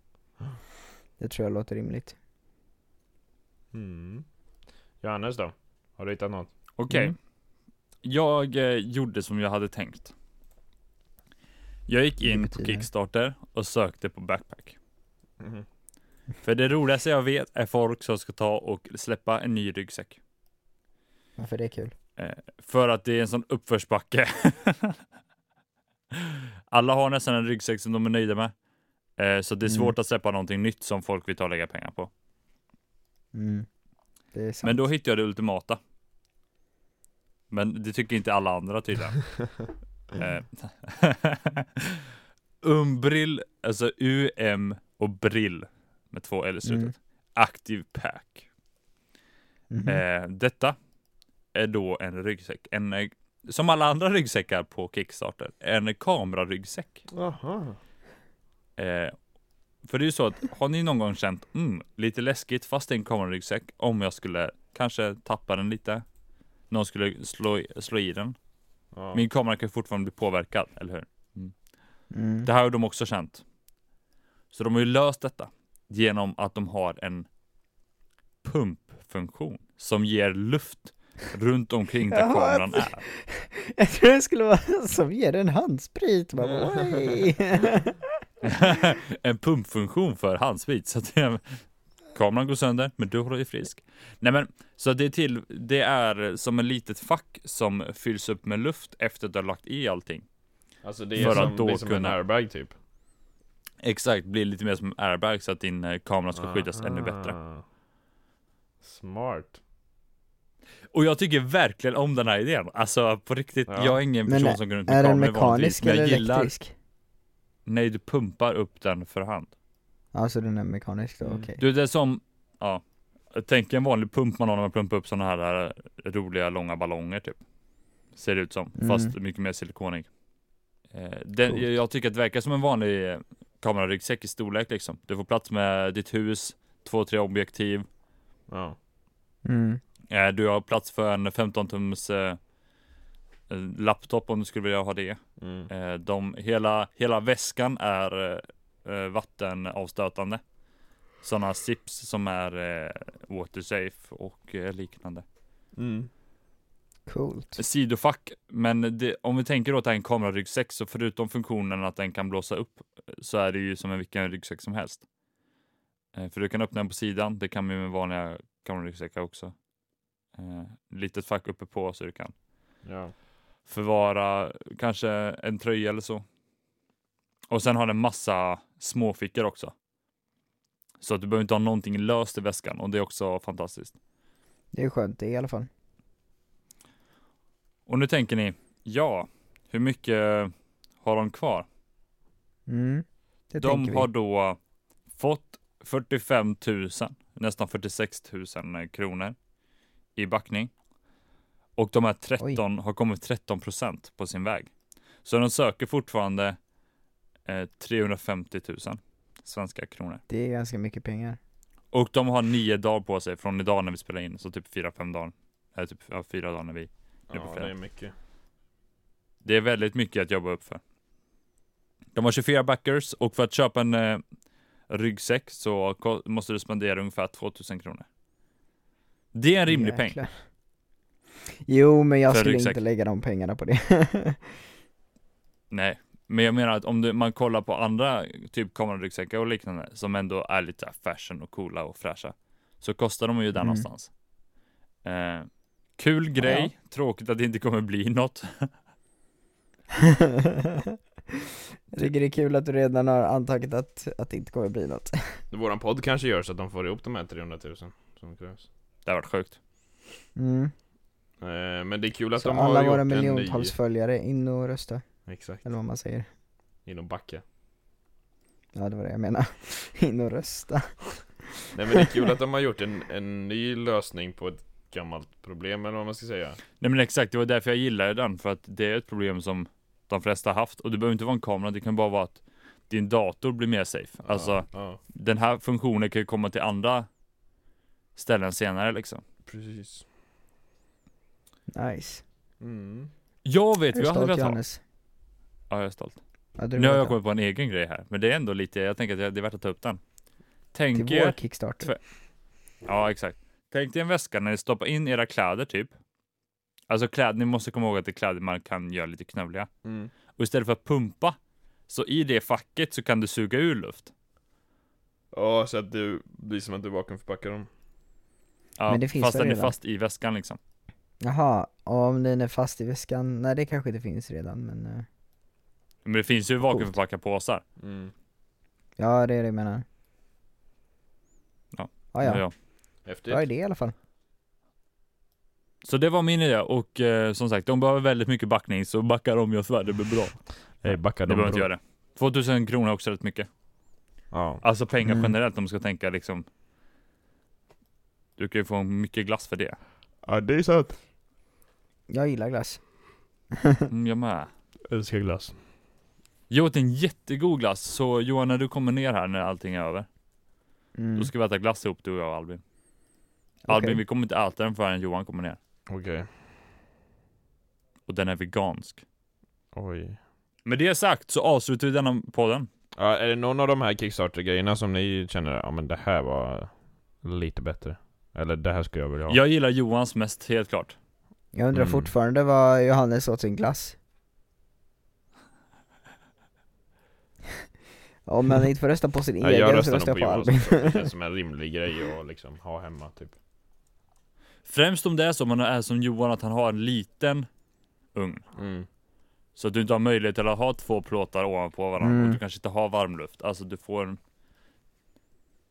S3: Det tror jag låter rimligt.
S1: Mm. Johannes då? Har du hittat något?
S2: Okej.
S3: Mm.
S2: Jag eh, gjorde som jag hade tänkt. Jag gick
S3: Det
S2: in på
S3: betyder-
S2: Kickstarter och sökte på backpack.
S1: Mm-hmm.
S2: För det roligaste jag vet är folk som ska ta och släppa en ny ryggsäck.
S3: Varför det är kul?
S2: Eh, för att det är en sån uppförsbacke. Alla har nästan en ryggsäck som de är nöjda med. Eh, så det är
S3: Mm.
S2: svårt att släppa någonting nytt som folk vill ta och lägga pengar på.
S3: Mm. Det är sant.
S2: Men då hittade jag det ultimata. Men det tycker inte alla andra tydligen. Eh, Umbril, alltså UM och Brill med två L i slutet.
S3: Mm.
S2: Active Pack.
S3: Mhm.
S2: Eh, detta är då en ryggsäck. En, eh, som alla andra ryggsäckar på Kickstarter, en kameraryggsäck.
S1: Jaha.
S2: Eh, för det är ju så att har ni någon gång känt mm, lite läskigt fast i en kameraryggsäck om jag skulle kanske tappa den lite? Någon skulle slå, i- slå i den.
S1: Ja.
S2: Min kamera kan ju fortfarande bli påverkad, eller hur?
S3: mm.
S2: Det här har de också känt. Så de har ju löst detta genom att de har en pumpfunktion som ger luft runt omkring där
S3: Jaha,
S2: kameran är.
S3: Jag tror det skulle vara som ger en handsprit. Man bara, "Oj."
S2: en pumpfunktion för handsprit. Så att det, kameran går sönder, men du håller dig frisk. Nej men, så det är till, det är som ett litet fack som fylls upp med luft efter att du har lagt i allting.
S1: Alltså det är
S2: För att
S1: som,
S2: då
S1: det är som
S2: kunna-
S1: en airbag typ.
S2: Exakt, blir lite mer som en airbag så att din eh, kamera ska skyddas ännu bättre.
S1: Ah. Smart.
S2: Och jag tycker verkligen om den här idén. Alltså på riktigt,
S1: Ja.
S2: jag är ingen
S3: Men
S2: person
S3: är-
S2: som går runt med
S3: är den
S2: kameror vanligtvis.
S3: mekanisk
S2: Men
S3: eller
S2: jag gillar,
S3: elektrisk?
S2: nej du pumpar upp den för hand.
S3: Alltså den är mekanisk då,
S1: Mm.
S3: okej.
S2: Du, det är som, ja. Tänk en vanlig pump man har när man pumpar upp sådana här eh, roliga långa ballonger typ. Ser det ut som,
S3: Mm.
S2: fast mycket mer silikonig. Eh, den,
S1: Coolt.
S2: jag, jag tycker att det verkar som en vanlig eh, kameraryggsäck i storlek liksom. Du får plats med ditt hus, två, tre objektiv.
S1: Ja.
S3: Mm.
S2: Eh, du har plats för en 15 tums eh, eh, laptop om du skulle vilja ha det.
S1: Mm.
S2: Eh, de, hela, hela väskan är eh, eh, vattenavstötande. Sådana zips som är eh, watersafe och eh, liknande.
S1: Mm.
S3: Coolt.
S2: Sidofack, men det, om vi tänker då att det är en kameraryggsäck så förutom funktionen att den kan blåsa upp eh, så är det ju som en vilken ryggsäck som helst. Eh, för du kan öppna den på sidan, det kan vi med vanliga kameraryggsäckar också. Eh, litet fack uppe på så du kan
S1: Ja.
S2: förvara kanske en tröja eller så. Och sen har den massa småfickor också. Så att du behöver inte ha någonting löst i väskan och det är också fantastiskt.
S3: Det är skönt det i alla fall.
S2: Och nu tänker ni, ja, hur mycket har de kvar?
S3: Mm. Det
S2: de
S3: tänker
S2: har
S3: vi.
S2: då fått 45 000, nästan 46 000 kronor i backning. Och de här 13 har kommit 13 procent på sin väg. Så de söker fortfarande eh, 350 000 svenska kronor.
S3: Det är ganska mycket pengar.
S2: Och de har nio dagar på sig från idag när vi spelar in, så typ fyra, fem dagar. Eller typ ja, fyra dagar när vi. Det är på
S1: ja,
S2: fredag.
S1: det är mycket.
S2: Det är väldigt mycket att jobba upp för. De har 24 backers och för att köpa en eh, ryggsäck så ko- måste du spendera ungefär 2000 kronor. Det är en rimlig peng.
S3: Jäklar. Jo, men jag
S2: För
S3: skulle
S2: ryggsäck.
S3: inte lägga de pengarna på det.
S2: Nej, men jag menar att om du, man kollar på andra typ kameraryggsäckar och liknande som ändå är lite så här fashion och coola och fräscha så kostar de ju där
S3: Mm.
S2: någonstans. Eh, kul grej, tråkigt att det inte kommer bli något.
S3: Jag tycker det är kul att du redan har antagit att, att det inte kommer bli något.
S1: Våran podd kanske gör så att de får ihop de här 300 000 som krävs.
S2: Det har varit sjukt.
S3: Mm.
S1: Eh, men det är kul att
S3: Så
S1: de har
S3: alla
S1: gjort
S3: våra
S1: en ny...
S3: miljontals följare, in och rösta,
S1: Exakt,
S3: eller vad man säger.
S1: inom backe.
S3: Ja det var det jag menade. In och rösta.
S1: Nej men det är kul att de har gjort en, en ny lösning på ett gammalt problem eller vad man ska säga.
S2: Nej men exakt, det var därför jag gillade den. För att det är ett problem som de flesta har haft. Och det behöver inte vara en kamera, det kan bara vara att din dator blir mer safe. Alltså,
S1: Ja, ja,
S2: den här funktionen kan ju komma till andra ställen senare liksom.
S1: precis.
S3: Nice.
S1: Mm.
S2: Jag vet vad
S3: Är du
S2: jag hade
S3: stolt
S2: velat ha.
S3: Johannes?
S2: Ja, jag är stolt.
S3: Ja, du
S2: Nu har
S3: vet
S2: jag
S3: det.
S2: kommit på en egen grej här, men det är ändå lite, jag tänker att det- det är värt att ta upp den. Tänk
S3: Till vår
S2: er,
S3: kickstarter.
S2: Tvär- ja exakt. Tänk dig en väska när ni stoppar in era kläder typ. Alltså kläder, ni måste komma ihåg att det är kläder man kan göra lite knövliga.
S1: Mm.
S2: Och istället för att pumpa, så i det facket så kan du suga ur luft.
S1: Ja, så att du blir som att du vakuumförpackar dem.
S2: Ja,
S3: Men det finns
S2: fast
S3: väl
S2: den är
S3: redan?
S2: fast i väskan liksom.
S3: Jaha, och om den är fast i väskan, nej det kanske inte finns redan men eh,
S2: Men det finns ju vakuumförpackade påsar.
S1: Mm.
S3: Ja det är det jag menar.
S2: Ja.
S3: Ah, ja.
S2: Ja.
S1: Häftigt.
S3: Bra idé i alla fall.
S2: Så det var min idé och eh, som sagt, de behöver väldigt mycket backning så backa om jag svär, det blir bra.
S1: Hej, backa
S2: De behöver inte göra det. 2000 kronor är också rätt mycket.
S1: Ja.
S2: Alltså pengar
S3: Mm.
S2: generellt om du ska tänka liksom Du kan ju få mycket glass för det.
S1: ja, det är sant.
S3: Jag gillar glass.
S2: Mm, jag med.
S1: Älskar glass.
S2: Jag åt en jättegod glass, så Johan när du kommer ner här när allting är över,
S3: Mm.
S2: då ska vi äta glass ihop du och jag och Albin.
S3: Okej.
S2: Albin vi kommer inte äta den förrän Johan kommer ner.
S1: Okej.
S2: Och den är vegansk.
S1: Oj.
S2: Med det sagt så avslutar vi denna podden.
S1: Ja, är det någon av de här Kickstarter-grejerna som ni känner, ja men det här var lite bättre? Eller det här skulle jag vilja ha?
S2: Jag gillar Johans mest, helt klart.
S3: Jag undrar
S1: Mm.
S3: fortfarande vad Johannes åt sin glass. Om man inte får rösta på sin
S1: Ja,
S3: egen
S1: jag
S3: så
S1: röstar
S3: röstar
S1: nog
S3: jag
S1: på
S3: på
S1: Jonas,
S3: Albin.
S1: det känns som en rimlig grej att liksom ha hemma typ.
S2: Främst om det är så, man är som Johan, att han har en liten ugn.
S1: Mm.
S2: Så att du inte har möjlighet till att ha två plåtar ovanpå varandra
S3: Mm.
S2: och du kanske inte har varmluft. Alltså du får en,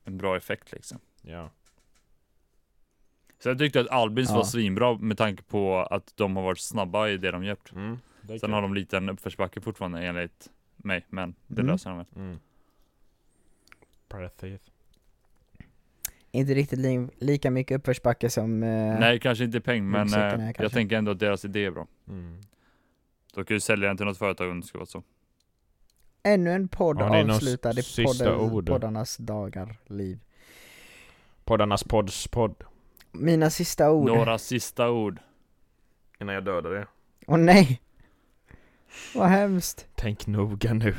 S2: en bra effekt liksom.
S1: Ja.
S2: Så jag tyckte att Albins
S3: Ja.
S2: var svinbra med tanke på att de har varit snabba i det de gjort.
S1: Mm. Det är
S2: Sen
S1: kul.
S2: har de liten uppförsbacke fortfarande enligt mig, men det
S3: Mm.
S2: löser de väl.
S1: Mm. Precis.
S3: Inte riktigt li lika mycket uppförsbacke som... Eh,
S2: Nej, kanske inte peng, men
S3: Ryggsäcken är
S2: eh, jag
S3: kanske.
S2: tänker ändå att deras idé är bra.
S1: Mm.
S2: Då kan ju sälja den till något företag om det ska vara så.
S3: Ännu en podd
S1: Har ni några
S3: avslutad i
S1: sista
S3: podden,
S1: ord?
S3: poddarnas dagar, liv.
S1: Poddarnas pods podd.
S3: Mina sista ord.
S2: Några sista ord.
S1: Innan jag dödar det.
S3: Åh nej! Vad hemskt.
S1: Tänk noga nu.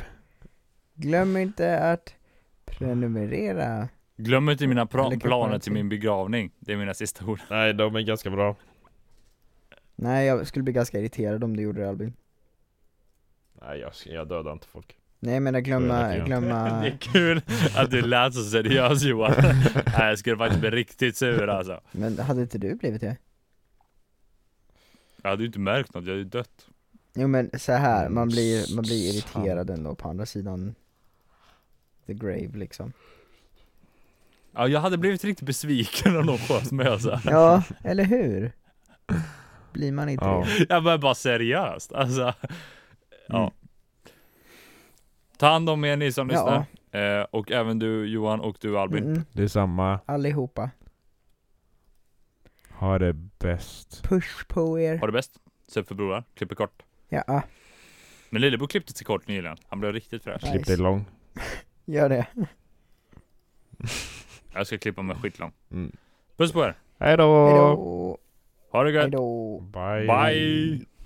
S3: Glöm inte att prenumerera.
S2: Glöm inte mina pra-
S3: Eller kanske
S2: planer
S3: någonting.
S2: till min begravning. Det är mina sista ord.
S1: Nej, de är ganska bra.
S3: Nej, jag skulle bli ganska irriterad om du gjorde det Albin.
S1: Nej, jag, ska- jag dödar inte folk.
S3: Nej, jag menar
S1: Så
S3: glömma,
S1: irriterande.
S3: glömma...
S2: Det är kul att du lät så seriös Johan. Nej, jag skulle faktiskt bli riktigt sur alltså.
S3: Men hade inte du blivit det?
S2: Jag hade ju inte märkt något, jag hade ju dött.
S3: Jo men så här,
S1: Mm,
S3: man blir, man blir
S1: sant.
S3: irriterad ändå på andra sidan the grave liksom
S2: Ja, jag hade blivit riktigt besviken om någon sköt mig alltså.
S3: Ja, eller hur? Blir man inte
S1: Ja.
S3: det?
S2: Jag var bara seriöst alltså. Ja.
S3: Mm.
S2: Ta hand om er ni som
S3: Ja,
S2: lyssnar. Eh, och även du Johan och du Albin.
S3: mm,
S1: Det är samma.
S3: allihopa.
S1: Ha det bäst.
S3: Push på er.
S2: Ha det bäst. Sup för brorar, klipper kort.
S3: Ja,
S2: Men Lillebror klippte sig kort nyligen. Han blev riktigt fräsch.
S3: Nej.
S1: Klipp dig lång.
S3: gör det.
S2: Jag ska klippa mig skitlång.
S1: Mm.
S2: Puss på er.
S1: Hej då!
S3: Hejdå.
S2: Ha det gött.
S3: Hejdå.
S1: Bye!
S2: Bye.